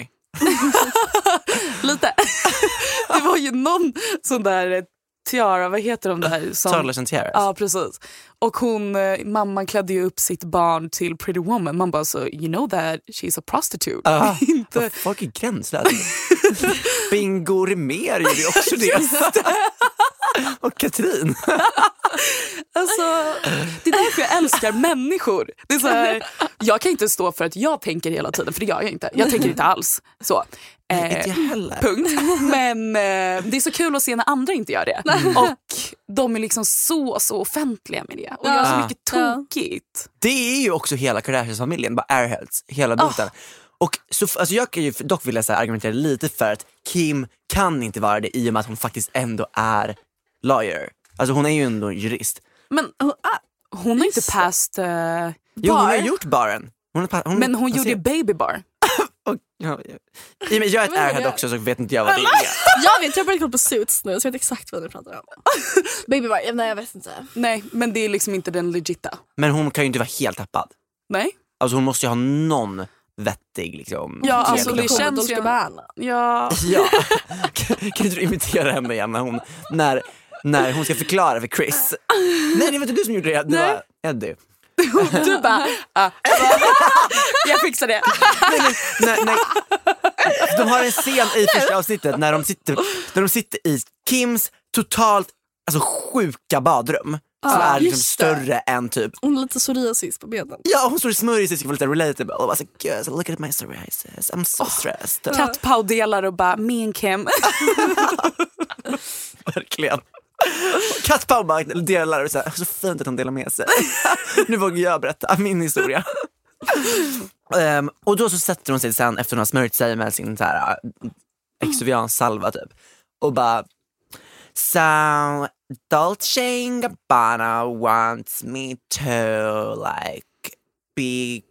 [SPEAKER 2] Lite. Det var ju någon sån där eh, tiara, vad heter de där? Som,
[SPEAKER 1] Toddlers and tiaras.
[SPEAKER 2] Ja, precis. Och hon, eh, mamman klädde ju upp sitt barn till Pretty Woman. Man bara så, you know that she's a prostitute.
[SPEAKER 1] Ja.
[SPEAKER 2] Inte...
[SPEAKER 1] Ah, Folk är gränslösa. Bingo Rimér gjorde ju också det. Och Katrin.
[SPEAKER 2] Alltså, det är därför jag älskar människor. Det är så här, jag kan inte stå för att jag tänker hela tiden, för det gör jag inte. Jag tänker inte alls. Så. Eh,
[SPEAKER 1] Inte jag heller.
[SPEAKER 2] punkt. Men eh, det är så kul att se när andra inte gör det.
[SPEAKER 1] Mm.
[SPEAKER 2] Och de är liksom så, så offentliga med det. Och gör så
[SPEAKER 1] Ja.
[SPEAKER 2] mycket tokigt.
[SPEAKER 1] Det är ju också hela Kardashians-familjen, bara Airheads, hela
[SPEAKER 2] Ah.
[SPEAKER 1] biten. Och så, alltså jag kan ju dock vilja så här argumentera lite för att Kim kan inte vara det i och med att hon faktiskt ändå är lawyer. Alltså hon är ju ändå jurist.
[SPEAKER 2] Men
[SPEAKER 1] Oh,
[SPEAKER 2] hon,
[SPEAKER 1] ah.
[SPEAKER 2] hon har inte passed... eh,
[SPEAKER 1] Jo, hon har
[SPEAKER 2] bar.
[SPEAKER 1] ju gjort baren. Hon, har pa- hon,
[SPEAKER 2] Men hon
[SPEAKER 1] alltså,
[SPEAKER 2] gjorde Baby Bar.
[SPEAKER 1] Och, ja, ja. I och med, jag är ett
[SPEAKER 3] Men jag-
[SPEAKER 1] airhead också så vet inte jag vad det är.
[SPEAKER 3] Jag vet, jag har börjat kolla på Suits nu så jag vet exakt vad ni pratar om. Baby Bar, nej jag vet inte.
[SPEAKER 2] Nej, men det är liksom inte den legitta.
[SPEAKER 1] Men hon kan ju inte vara helt tappad.
[SPEAKER 2] Nej.
[SPEAKER 1] Alltså hon måste ju ha någon vettig liksom.
[SPEAKER 2] Ja,
[SPEAKER 3] Typ
[SPEAKER 1] regel.
[SPEAKER 2] alltså, det känns ju- Ja.
[SPEAKER 1] Ja. Kan kan inte du imitera henne igen när hon, när, när hon ska förklara för Chris? Nej det var inte du som gjorde det, det var Eddie.
[SPEAKER 2] Du bara... ah. jag fixar det.
[SPEAKER 1] Nej, nej, nej, nej. Alltså, De har en scen i första avsnittet när de sitter, när de sitter i Kims totalt alltså, sjuka badrum. Som
[SPEAKER 3] Ja,
[SPEAKER 1] är liksom
[SPEAKER 3] just det.
[SPEAKER 1] större än typ
[SPEAKER 3] Hon har lite psoriasis på benen.
[SPEAKER 1] Ja, hon står i smörjs och ska vara lite relatable. Och bara så, "Girls, look at my psoriasis, I'm so stressed.
[SPEAKER 2] Alltså, Kattpaudelar och bara, me and Kim.
[SPEAKER 1] Verkligen. Kat Baumark delar och så, här, så fint att hon delar med sig. nu vågar jag berätta min historia. Ehm, och då så sätter hon sig sen efter hon har smörjt sig med sin så här exuviansalva typ och bara So Dolce and Gabbana wants me to like be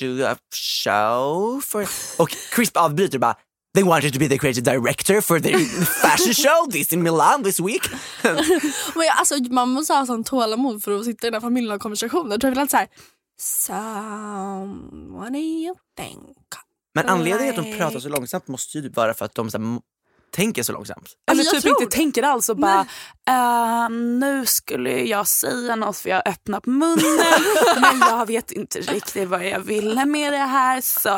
[SPEAKER 1] do a show for och Crisp avbryter och bara They wanted to be the creative director for their fashion show this in Milan this week.
[SPEAKER 3] Men jag, alltså, man måste ha sån tålamod för att sitta i den här familjen och ha konversationer. Jag tror jag vill så här, so, what do you think?
[SPEAKER 1] Men anledningen till att de pratar så långsamt måste ju vara för att de så här, m- tänker så långsamt.
[SPEAKER 3] Alltså,
[SPEAKER 2] Eller
[SPEAKER 3] jag
[SPEAKER 2] typ
[SPEAKER 3] tror
[SPEAKER 2] inte
[SPEAKER 3] det.
[SPEAKER 2] tänker alls och bara "Eh, nu skulle jag säga något för jag har öppnat munnen men jag vet inte riktigt vad jag ville med det här så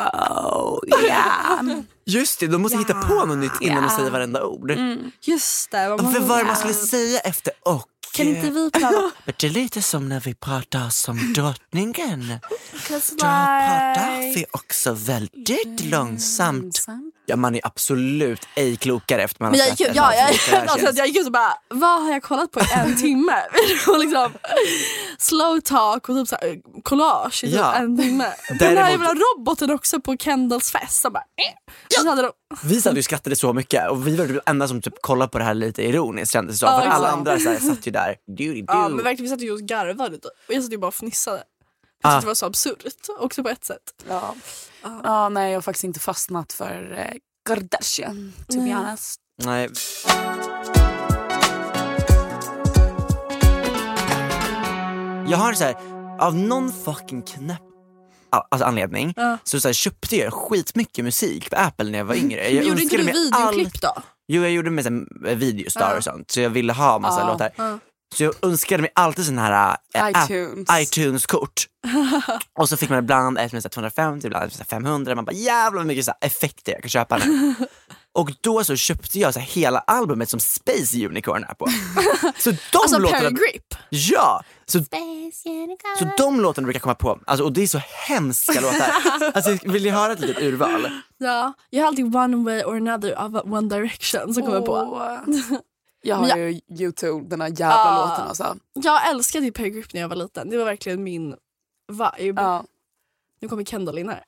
[SPEAKER 2] yeah.
[SPEAKER 1] Just det, de måste hitta på något nytt innan de säger varenda ord.
[SPEAKER 3] Mm. Just det. vad
[SPEAKER 1] För
[SPEAKER 3] man- Ah,
[SPEAKER 1] vad man skulle säga efter och.
[SPEAKER 3] Kan inte vi prata?
[SPEAKER 1] Men Det är lite som när vi pratar som
[SPEAKER 3] Oh
[SPEAKER 1] drottningen. Då pratar
[SPEAKER 6] like,
[SPEAKER 1] vi också väldigt långsamt. Ja, man är absolut ej klokare efter man har
[SPEAKER 3] Men jag
[SPEAKER 1] sett
[SPEAKER 3] gick ut,
[SPEAKER 1] en
[SPEAKER 3] ja, jag,
[SPEAKER 1] avsnitt av den här
[SPEAKER 3] alltså,
[SPEAKER 1] tjänsten.
[SPEAKER 3] jag gick ut och bara, vad har jag kollat på i en timme? och liksom, slow talk och typ så här, collage i typ
[SPEAKER 1] Ja.
[SPEAKER 3] en timme. Den här
[SPEAKER 1] Däremot-
[SPEAKER 3] jävla roboten också på Kendalls fest. Så bara, eh. Och så hade de,
[SPEAKER 1] Vi satt ju och skrattade så mycket och vi var de enda som typ kollade på det här lite ironiskt kändes det som.
[SPEAKER 3] Ja,
[SPEAKER 1] För att alla
[SPEAKER 3] exakt.
[SPEAKER 1] andra så här, satt ju där. Doody
[SPEAKER 3] ja,
[SPEAKER 1] do.
[SPEAKER 3] men verkligen, vi satt ju och garvade lite. Och jag satt ju bara och fnissade. Jag tyckte
[SPEAKER 1] Ah.
[SPEAKER 3] det var så absurt också på ett sätt.
[SPEAKER 2] Ja. Ja, ah, nej, jag har faktiskt inte fastnat för eh, Kardashian, to be honest.
[SPEAKER 1] Nej. Jag har så här, av någon fucking knäpp a- alltså anledning så, så här, köpte jag skitmycket musik på Apple när jag var yngre. Jag
[SPEAKER 3] Men Mm. gjorde inte
[SPEAKER 1] önskade
[SPEAKER 3] du
[SPEAKER 1] mig
[SPEAKER 3] videoklipp då?
[SPEAKER 1] Jo jag gjorde med så här, videos där och sånt så jag ville ha massa
[SPEAKER 2] Ja.
[SPEAKER 1] låtar. Så jag önskade mig alltid sån här äh, app-
[SPEAKER 2] iTunes.
[SPEAKER 1] iTunes-kort. och så fick man ibland ett med så här 250, ibland ett med så här 500. Man bara jävlar vad mycket så här effekter jag kan köpa nu. och då så köpte jag så här hela albumet som Space Unicorn är på. så de
[SPEAKER 3] Alltså Pearl
[SPEAKER 1] låtarna,
[SPEAKER 3] Grip.
[SPEAKER 1] ja, så,
[SPEAKER 6] Space unicorn.
[SPEAKER 1] så de låtarna brukar jag komma på. Alltså, och det är så hemska låtar. alltså, vill ni höra ett litet urval?
[SPEAKER 3] Ja, jag har alltid One Way or Another av One Direction som kommer på.
[SPEAKER 2] Och- Jag har
[SPEAKER 3] Men
[SPEAKER 2] ju YouTube, den här jävla
[SPEAKER 3] Ja.
[SPEAKER 2] låten alltså.
[SPEAKER 3] Jag älskade ju Pearl Grip när jag var liten. Det var verkligen min vibe.
[SPEAKER 2] Ja.
[SPEAKER 3] Nu kommer Kendall in här.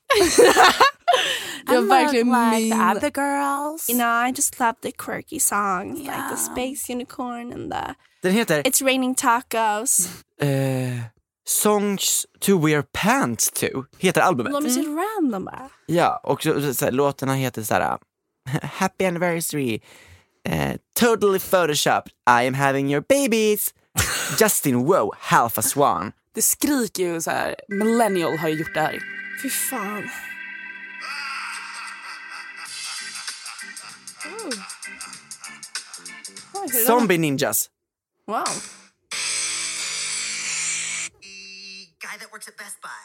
[SPEAKER 3] det var verkligen min...
[SPEAKER 6] You know, I just love the quirky songs like the space unicorn and the
[SPEAKER 1] Den heter
[SPEAKER 6] it's raining tacos.
[SPEAKER 1] eh, Songs to wear pants to, heter albumet.
[SPEAKER 3] De är så random bara.
[SPEAKER 1] Ja, och så, så, så här, låtarna heter så här Happy anniversary, eh, Totally photoshopped, I am having your babies, Justin Wow, Half a swan.
[SPEAKER 2] Det skriker ju så här, millennial har ju gjort det här.
[SPEAKER 3] Fy fan.
[SPEAKER 1] Zombie ninjas.
[SPEAKER 3] Wow.
[SPEAKER 5] The guy that works at Best Buy.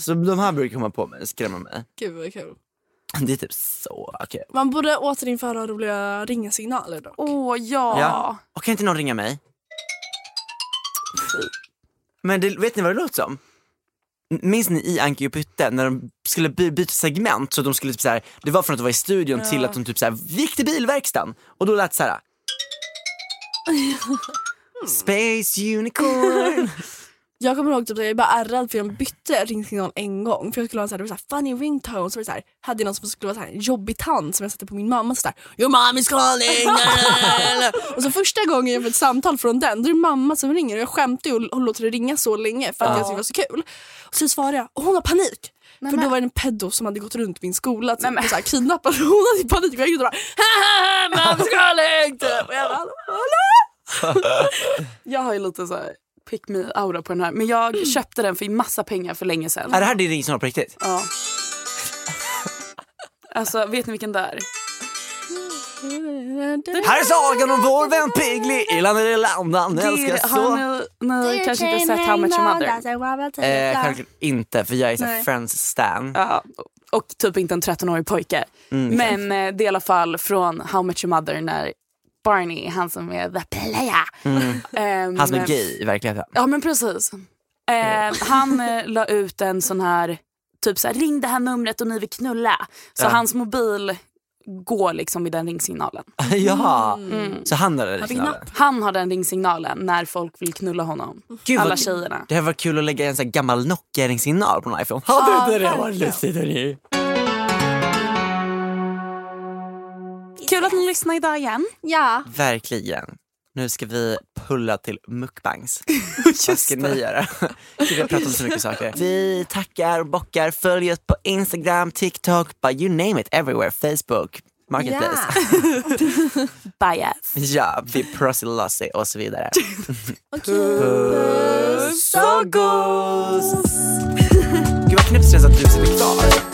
[SPEAKER 1] Så de här brukar komma på mig, skrämma mig.
[SPEAKER 3] Gud vad kul.
[SPEAKER 1] Det är typ så okej.
[SPEAKER 3] Man borde återinföra roliga ringasignaler dock.
[SPEAKER 2] Åh ja.
[SPEAKER 1] Ja. Och kan inte någon ringa mig? Men det, vet ni vad det låter som? N- Minns ni i Anki och Pytte när de skulle by- byta segment så de skulle typ så här, det var från att de var i studion till att de typ så här gick till bilverkstan och då lät det så här. Space unicorn.
[SPEAKER 3] Jag kommer ihåg typ, att jag är bara ärrad för jag bytte ringsignal en gång. För jag skulle ha en sån här, det var så här funny ringtone. Så var det så här, hade jag någon som skulle vara så här, en jobbig tant som jag satte på min mamma. Så där, Your mom is calling! och så första gången jag får ett samtal från den, då är det mamma som ringer. Och jag skämtar ju och, och låter det ringa så länge för att jag tyckte det var så kul. Och så svarar jag och hon har panik. för då var det en pedo som hade gått runt min skola typ, och så här, kidnappat. Och hon hade panik och jag gick och bara "Haha, mom is calling! Typ. Och jag bara, "Hallå?"
[SPEAKER 2] Jag har ju lite så här pick me aura på den här. Men jag köpte den för massa pengar för länge sedan.
[SPEAKER 1] är det här din ringsnål på riktigt?
[SPEAKER 2] Ja. Alltså, vet ni vilken det är?
[SPEAKER 1] Här är sagan om vår vän Piggly, i land eller landan, älskar
[SPEAKER 2] Det-
[SPEAKER 1] så.
[SPEAKER 2] Har ni, ni kanske inte sett How much your mother?
[SPEAKER 1] Eh, självklart inte för jag är så här
[SPEAKER 3] Nej.
[SPEAKER 1] Friends-stan.
[SPEAKER 2] Ja, och typ inte en 13-årig pojke.
[SPEAKER 1] Mm.
[SPEAKER 2] Men eh, det är i alla fall från How much your mother när Barney, han som är the player. ehm,
[SPEAKER 1] Mm. Han som är gay i verkligheten.
[SPEAKER 2] Ja men precis. Eh, han eh, la ut en sån här, typ så här ring det här numret och ni vill knulla. Så hans mobil går liksom i den ringsignalen.
[SPEAKER 1] Jaha, så han hade det signalen.
[SPEAKER 2] Han har den ringsignalen när folk vill knulla honom.
[SPEAKER 1] Gud,
[SPEAKER 2] Alla
[SPEAKER 1] vad-
[SPEAKER 2] tjejerna.
[SPEAKER 1] Det här var kul att lägga en sån här gammal Nokia-ringsignal på en iPhone. Hade inte det varit lustigt hörni?
[SPEAKER 2] Kul att ni lyssnar idag igen.
[SPEAKER 3] Ja.
[SPEAKER 1] Verkligen. Nu ska vi pulla till mukbangs. Vad ska ni göra? Gud, vi har pratat om så mycket saker. Vi tackar och bockar. Följ oss på Instagram, TikTok, bara you name it everywhere. Facebook, Marketplace.
[SPEAKER 2] Bias.
[SPEAKER 1] Ja, vi prosilossi och så vidare. Puss och gos! Gud vad knäppsnäs att du sitter kvar.